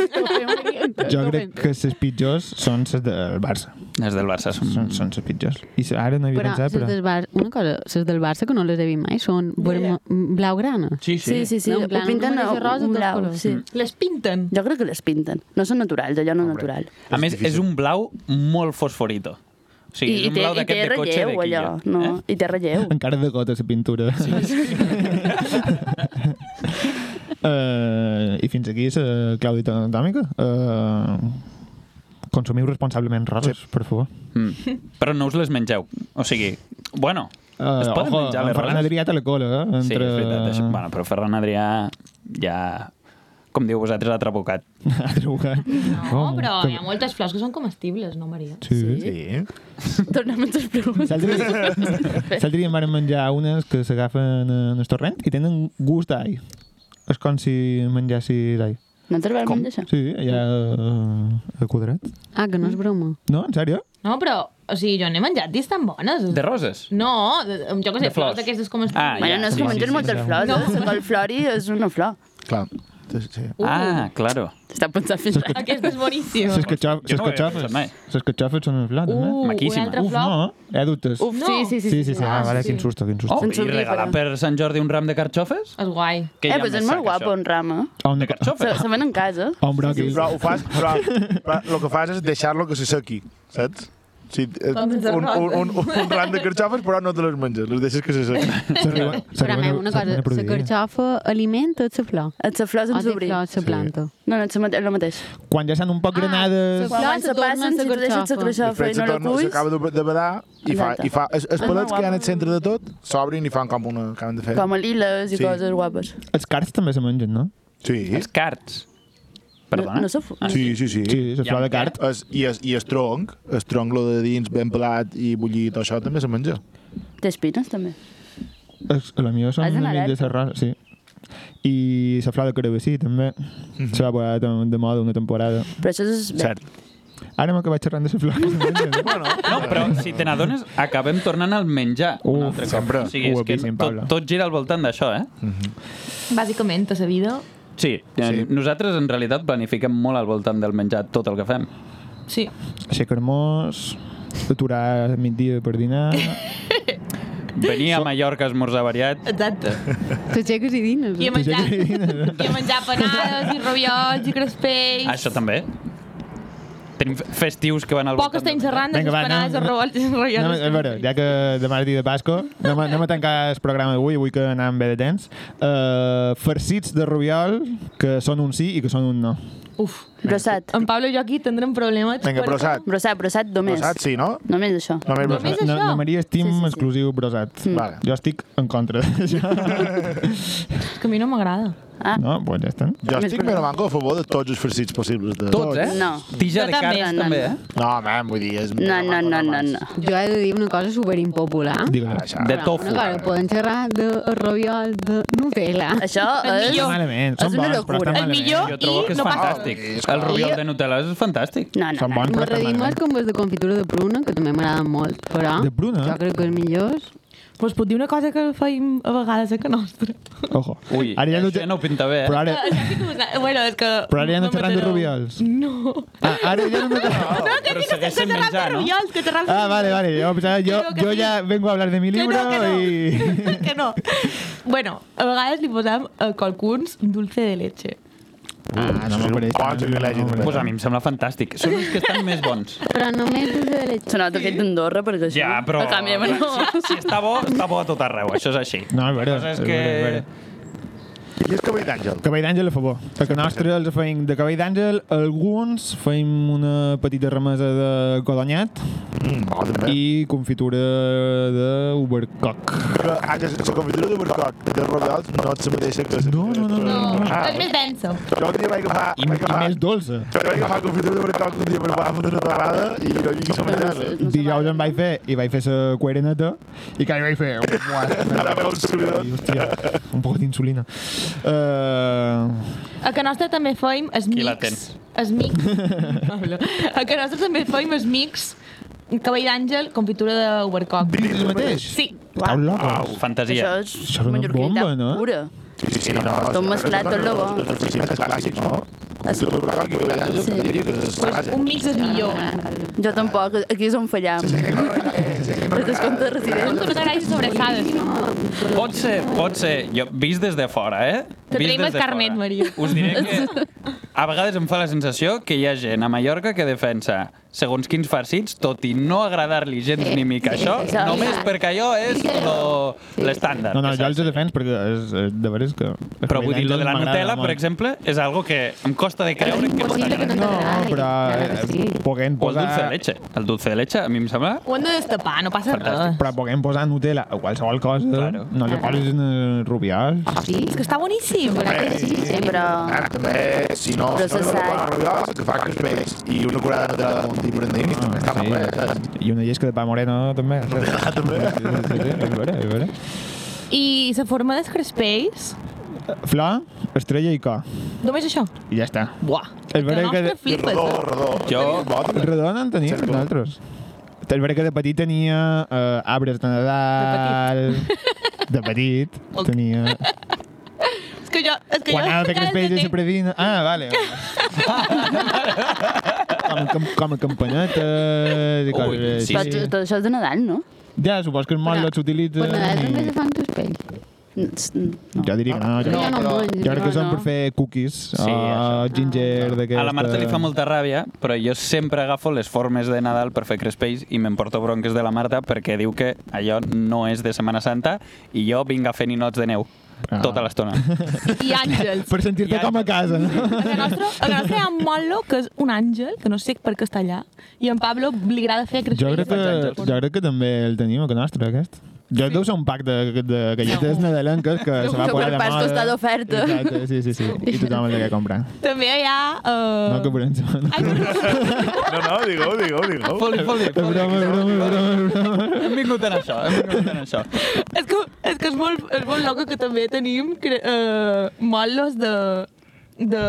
S2: jo crec que ses pitjors són ses del Barça.
S4: Les del Barça són...
S2: Són, són ses pitjors. I se- ara no havia
S7: Però
S2: pensat,
S7: ses
S2: però...
S7: del Bar... una cosa, ses del Barça que no les he vist mai són verme- blaugranes.
S4: Sí,
S6: Sí, sí, sí.
S7: No, en
S6: ho
S7: plan,
S6: pinten
S7: una mateixa
S6: un,
S7: rosa,
S6: un
S7: dos
S6: blau.
S7: colors.
S6: Sí.
S5: Les pinten.
S6: Jo crec que les pinten. No són naturals, allò no és natural.
S4: A més, és un blau molt fosforito. O sigui, és
S6: I, i
S4: un
S6: té,
S4: blau
S6: i té
S4: d'aquest de cotxe eh? de
S6: relleu,
S4: quilla.
S6: allò. No, I té relleu.
S2: Encara de gota la pintura. Sí. uh, I fins aquí la Clàudia Anatòmica. Uh, consumiu responsablement roses, sí. per favor.
S4: Mm. Però no us les mengeu. O sigui, bueno,
S2: Uh,
S4: es poden
S2: ojo,
S4: menjar
S2: en
S4: les
S2: Ferran
S4: roses.
S2: Adrià té la cola, eh?
S4: Sí,
S2: Entre...
S4: és veritat. Això, bueno, però Ferran Adrià ja, com diu vosaltres, ha trabucat.
S2: ha trobat.
S5: No, però hi ha moltes flors que són comestibles, no, Maria?
S2: Oh, Sí. sí.
S3: Sí.
S6: Tornem a les preguntes.
S2: L'altre dia- l'altre dia em van menjar unes que s'agafen en el torrent i tenen gust d'all. És com si mengessis all.
S6: No te'l vas menjar, això?
S2: Sí, allà eh, a quadrat.
S7: Ah, que no és broma.
S2: No, en sèrio?
S5: No, però, o sigui, jo n'he menjat dis tan bones.
S4: De roses?
S5: No, de, jo què sé,
S4: De flors.
S5: flors d'aquestes
S4: Ah,
S5: comestibles.
S6: Bueno, no és
S4: Sí,
S6: que
S4: sí,
S6: menges
S4: sí,
S6: moltes
S2: sí.
S6: flors, eh? La col flori és una flor.
S3: Clar. Sí, sí.
S4: Ah, claro.
S6: Està pensant fins ara.
S5: Aquesta és boníssima.
S2: Ses catxofes,
S4: Jo
S2: ses
S4: no ho havia
S2: catxofes,
S4: pensat mai.
S2: ses catxofes són els blat,
S5: Uh,
S2: uh,
S4: Maquíssima.
S5: una altra
S2: Uf,
S5: flor.
S2: no, eh, dubtes.
S6: Uf, sí, sí, sí.
S2: Sí, sí, sí, ah,
S5: Ah,
S2: vale,
S5: sí.
S2: quin susto, quin susto.
S4: Oh,
S6: Se'n
S4: i
S6: sortia,
S4: regalar per Sant Jordi un ram de carxofes?
S5: És guai.
S4: Que
S6: Eh,
S4: ja
S6: però és
S4: més
S6: molt
S4: sac,
S6: guapo, un rama.
S2: O un,
S4: De
S6: Se,
S4: carxofes?
S6: se ven en casa.
S2: o un bròquil.
S3: Però ho fas, però, però el que fas és deixar-lo que se sequi, saps? Sí, eh,
S5: Com
S3: un,
S5: les
S3: un,
S5: roses.
S3: un, un ram de carxofes, però no te les menges, les deixes que se sequi.
S2: S'arriba-
S7: Però,
S2: s'arriben
S7: a
S2: a-
S7: una
S2: s'arriben
S7: cosa,
S2: a
S7: la
S2: produir.
S7: carxofa alimenta la flor.
S6: Et sa flor
S7: O
S6: sense
S7: Ah, té
S6: obrir.
S7: flor, la planta.
S6: No, no, és el mateix.
S2: Quan ja s'han un poc granades...
S7: se-
S6: Quan, quan
S7: Flor,
S6: se passen,
S7: torna
S6: si
S7: sa
S6: tu deixes la
S7: carxofa.
S6: carxofa i
S3: Després
S6: no
S3: se
S6: la
S3: torna,
S6: cuis...
S3: s'acaba de, de badar i fa,
S6: Exacte. Ah,
S3: i fa... Els, els
S6: molt
S3: palets que hi ha
S6: guapo.
S3: al centre de tot s'obrin i fan com una... acaben de fer.
S6: Com a liles i
S3: Sí.
S6: coses guapes.
S2: Els cards també se mengen, no?
S3: Sí.
S6: Ah,
S4: Els cards. Perdona?
S6: No, no se fu-
S3: Ah. Sí, sí, sí.
S2: Sí, la
S4: Hi ha
S2: flor
S4: un
S2: de card.
S3: Es, i, es, I el tronc, el tronc lo de dins ben pelat i bullit, això també se menja.
S6: Té espines, també.
S2: Els, la millor són
S6: Has
S2: una mica
S6: demanat?
S2: de serrana, sí. I la flor de carabessí, també. Se va posar de, de moda una temporada.
S6: Però això és... bé.
S3: Cert.
S2: Ara m'ha acabat xerrant de la flor. que se mengen, no?
S4: No, però si te n'adones, acabem tornant al menjar.
S2: Uf,
S4: un altre cop.
S3: sempre.
S4: O sigui, és que
S2: Guapíssim,
S4: tot,
S2: Paula.
S4: tot gira al voltant d'això, eh?
S5: Bàsicament, a sa vida...
S4: Sí, sí, nosaltres en realitat planifiquem molt al voltant del menjar tot el que fem.
S5: Sí.
S2: Aixecar mos, aturar a migdia per dinar...
S4: Venir a Mallorca a esmorzar variat,
S5: Exacte.
S7: T'aixeques i dines.
S5: I a menjar, i a menjar panades, i raviols, i crespells...
S4: Ah, això també. Tenim fe- festius que van al
S5: Poc
S4: voltant.
S5: estem xerrant de
S2: Vinga,
S5: les
S2: va,
S5: panades,
S2: anem-
S5: els raviols i els
S2: Anem,
S5: raviols.
S2: a veure, ja que demà és dia de Pasco, anem, a- anem a tancar el programa d'avui, avui que anàvem bé de temps. Uh, farcits de Rubiol, que són un sí i que són un no.
S5: Uf.
S6: Brossat.
S5: En Pablo i jo aquí tindrem problemes.
S3: Vinga,
S5: perquè-
S3: brossat.
S6: Brossat, brossat, només.
S3: Brossat, sí, no?
S6: Només això.
S3: Només
S5: Només
S3: brossat.
S5: és
S2: Eh, No,
S5: això.
S2: la Maria és team sí, sí, sí. exclusiu brosat.
S3: Vale.
S2: Jo estic en contra d'això.
S5: És que a mi no m'agrada.
S2: No, pues ja estan.
S3: Jo estic més manco a favor de tots els farcits possibles. De...
S4: Tots, eh?
S6: No.
S4: Tija
S5: Jo
S4: de
S5: també,
S4: carns
S6: no,
S4: també,
S6: no.
S4: eh?
S3: No, man, vull dir... És
S6: No, no, no, no, no.
S7: Jo he de dir una cosa superimpopular.
S2: Digue-ho.
S3: Això.
S4: De
S7: Però
S4: tofu.
S7: Una cosa, podem xerrar de roviol de Nutella.
S6: Això és...
S2: Està malament,
S6: És
S2: són
S6: una
S2: bons, però estan
S6: locura.
S5: El
S2: malament.
S5: millor
S4: Jo trobo que és
S5: i no passa
S4: fantàstic.
S3: res.
S4: El rubiol de Nutella és fantàstic.
S6: No, no,
S2: Són
S6: no.
S2: bons,
S7: Me
S2: però estan
S7: redimos
S2: malament.
S7: com les de confitura de pruna, que també m'agraden molt, però...
S2: De pruna?
S7: Jo crec que els millors...
S5: Pues pot dir una cosa que feim a vegades a que nostra.
S2: Ojo.
S4: Ui,
S2: ara ja no,
S4: això ja no ho pinta bé, eh?
S2: Però ara,
S5: bueno, és que...
S2: però ara ja no
S5: me
S2: xerran de
S5: matareu.
S2: Rubiols.
S5: No.
S2: Ah, ara ja no...
S5: No, que
S4: però
S5: sí que estem
S4: segueixen
S5: xerrant de
S4: menjant, no?
S5: Rubiols, que xerrant de
S2: Ah, vale, vale. Jo, pensava, jo,
S5: Creo que
S2: jo
S5: sí.
S2: ja vengo a hablar de mi
S5: Que
S2: libro
S5: no, que no.
S2: i...
S5: que no. Bueno, a vegades li posam a qualcuns dulce de leche.
S2: Ah, no
S3: sí,
S2: m'apareix.
S3: un bon privilegi, també.
S4: Pues a mi em sembla fantàstic. Són els que estan més bons.
S7: Però només els de leche.
S6: Sonat aquest d'Andorra, perquè això...
S4: Ja, però...
S6: A canvi, bueno...
S4: Si, si està bo, està bo a tot arreu. Això és així.
S2: No, és
S4: La
S2: vera,
S4: cosa és
S2: és
S4: que...
S2: vera, és vera.
S3: I és Cavall d'Àngel.
S2: Cavall d'Àngel a favor. Perquè nostre els feim de Cavall d'Àngel, alguns feim una petita remesa de codonyat
S3: Mm, no, també. I...
S2: i confitura d'Ubercoc.
S3: Que, ah, que la confitura de Barcoc de Rodeals no és la mateixa que... la-
S2: No, no, no,
S5: No,
S3: Ah,
S5: és més densa.
S3: jo un dia vaig agafar...
S2: I,
S3: vaig
S2: i
S3: agafar-
S2: més dolça.
S3: Jo vaig agafar confitura de Barcoc un dia per agafar una nevada i no hi havia la mateixa.
S6: No se
S2: Dijous
S6: val.
S2: em vaig fer, i vaig fer la cuereneta, i que vaig fer... Buah,
S3: Ara veu el servidor.
S2: i, hòstia, un poc d'insulina. Uh,
S5: A que nostra també feim els
S4: Qui
S5: mics.
S4: la tens?
S5: Els mics. Pablo. a que nostra també feim els mics. Cavall d'àngel, confitura d'Overcock.
S3: Dins el mateix.
S5: Sí.
S2: Estau locos.
S4: Fantasia.
S6: Això
S2: Això
S6: és
S2: era una
S6: mallorquinitat
S2: bomba, no?
S6: pura.
S3: Sí, sí, sí, no.
S6: Tot mesclat, tot lo bo.
S3: Els oficines clàssics, no? Confitura de Barcoc i Cavall d'Àngel,
S6: Sí.
S3: diria que és la
S5: Pues
S3: base.
S5: un mix és millor.
S6: Jo tampoc, aquí és on fallam. El descompte de
S5: Un
S6: residents.
S5: tornaràs sobressades.
S4: Pot ser, pot ser. Jo, vist des de fora, eh?
S5: Te
S4: Vist
S5: traiem
S4: des
S5: el
S4: de
S5: carnet,
S4: fora.
S5: Maria.
S4: Us diré que a vegades em fa la sensació que hi ha gent a Mallorca que defensa segons quins farcits, tot i no agradar-li gens ni mica això,
S6: això.
S4: només perquè allò és lo- l'estàndard.
S2: No, no,
S4: que
S2: jo
S4: saps?
S2: els defens perquè és, és de veres que...
S4: Però vull dir, lo de la
S2: m'agrada
S4: Nutella,
S2: molt.
S4: per exemple, és algo que em costa de creure que pot agradar.
S2: No, però eh, puguem
S4: O el
S2: posar...
S4: dulce de leche. El dulce de leche, a mi em sembla...
S5: Ho hem de destapar, no passa res.
S2: Però puguem posar Nutella a qualsevol cosa.
S4: Claro.
S2: No li posis en el rubial.
S5: És que està boníssim.
S6: Sí, però...
S3: Ara també, si no,
S6: Però
S3: si no
S6: se sap.
S3: va arribar, que fa que es veig. I una curada de multibrandini, també està molt bé.
S2: I una llesca de pa moreno, també.
S3: Ah, també.
S2: Sí, sí, sí, és vera, és vera.
S5: I la forma dels crespells,
S2: Flor, estrella i co.
S5: només això.
S2: I ja està.
S5: Buah.
S2: És
S5: Que
S2: vera
S5: nostre
S2: que...
S5: flipes.
S3: Rodó,
S5: eh?
S3: rodó.
S4: Jo-
S3: Bo, també.
S2: Redona en teníem
S3: Certo.
S2: nosaltres. És vera que de petit tenia eh, arbres de Nadal... De petit. tenia...
S5: És que jo... És que
S2: Quan
S5: jo...
S2: ha de fer crespells i
S5: entenc.
S2: sempre dina... Ah, vale. com, com, com a campanetes i coses
S4: Ui, sí,
S6: Però
S2: així.
S6: tot això és de Nadal, no?
S2: Ja, supos que és molt
S7: Però-
S2: que s'utilitza.
S8: Pues nada, també
S2: i-
S8: se fan crespells.
S6: No.
S2: Jo diria que no. Jo,
S8: No, jo no
S2: jo
S8: vull,
S2: crec que
S8: no, Ah,
S2: són
S8: no.
S2: per fer cookies
S4: Sí,
S2: sí, o ginger d'aquesta...
S4: A la Marta li fa molta ràbia, però jo sempre agafo les formes de Nadal per fer crespells i m'emporto bronques de la Marta perquè diu que allò no és de Setmana Santa i jo vinc a fer ninots de neu
S2: Ah.
S4: tota l'estona.
S5: I àngels.
S2: Per sentir-te
S4: Ja.
S2: com a casa, no?
S5: A la nostra, a la nostra hi ha en Molo, que és un àngel, que no sé per què està allà, i en Pablo li agrada fer
S2: Jo
S5: crespells.
S2: crec, que, jo crec que també el tenim, que nostre, aquest. Jo deu ser un pack de, de galletes nadalenques que se va
S6: Segur
S2: posar
S6: que
S2: de moda.
S6: per pas costat d'oferta.
S2: Exacte, sí, sí, sí. I tothom el que comprar.
S5: També hi ha... Uh...
S2: No, que volem ser.
S5: Ai, perdó.
S3: No, no, digueu, digueu, digueu.
S4: Foli, foli,
S2: És broma, és broma, és broma, és broma.
S4: Hem vingut en això, hem vingut en això.
S5: és, que, és que és molt, és molt loco que també tenim cre- eh, Molos de de...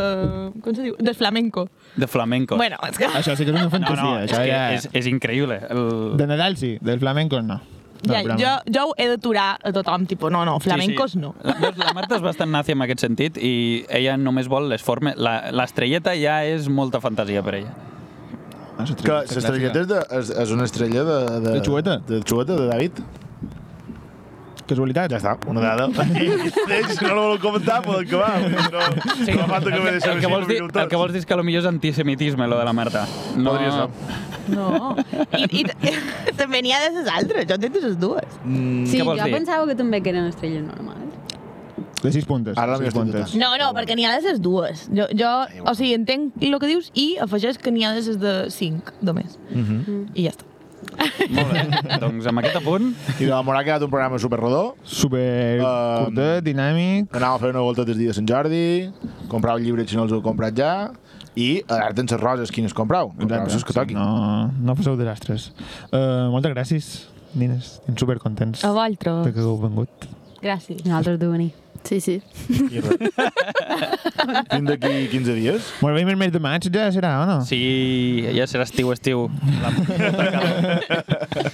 S5: com se diu? De flamenco.
S4: De flamenco.
S5: Bueno, és que...
S2: Això sí que és una
S4: no,
S2: fantasia.
S4: no, és,
S2: això
S4: que
S2: ja...
S4: és, és increïble. El...
S2: De Nadal sí, del flamenco no. no
S5: ja,
S2: però-
S5: jo, jo ho he d'aturar a tothom, tipus, no, no, flamencos no.
S4: La, doncs la Marta és bastant nazi en aquest sentit i ella només vol les formes... la- L'estrelleta ja és molta fantasia per ella.
S2: Ah, és
S3: Que
S2: estrella,
S3: l'estrelleta és, de, és, és una estrella de... De,
S2: De xueta.
S3: De xueta, de David.
S2: clàssica. Casualitat.
S3: Ja està, una dada. Ells, si no la volen comentar, poden acabar. No, sí, no fa falta que me deixeu
S4: el, que vols dir, el que vols dir és que potser és antisemitisme, lo de la Marta. No,
S3: Podria ser.
S5: No. I, i t- també n'hi ha de les altres, jo entenc de les dues.
S7: Sí,
S2: Mm,
S4: Què
S7: jo
S4: vols dir?
S7: pensava que també que eren estrelles normals.
S2: De sis puntes.
S3: Ara
S2: sis
S3: l'havia
S2: puntes.
S5: No, no, perquè n'hi ha de les dues. Jo, jo o sigui, entenc el que dius i afegeix que n'hi ha de les de cinc, només.
S2: Mhm.
S5: I ja està.
S4: Molt bé. doncs amb aquest apunt...
S3: I de la Morà ha quedat un programa superrodó.
S2: Super
S3: tota. Um,
S2: curtet, dinàmic.
S3: Anàvem a fer una volta des dia de Sant Jordi, comprar un llibre si no els heu comprat ja, i ara tens les roses, quines comprau? Comprau eh? les que toquin.
S2: No, no passeu desastres. Uh, moltes gràcies, nines. Estic supercontents
S5: A
S2: de
S5: vosaltres.
S2: que heu vengut.
S5: Gràcies.
S7: Nosaltres de venir.
S6: Sí, sí.
S3: I res. Fins d'aquí 15 dies.
S2: Molt bé, i el mes de maig ja serà, o no?
S4: Sí, ja serà estiu, estiu. La puta calor.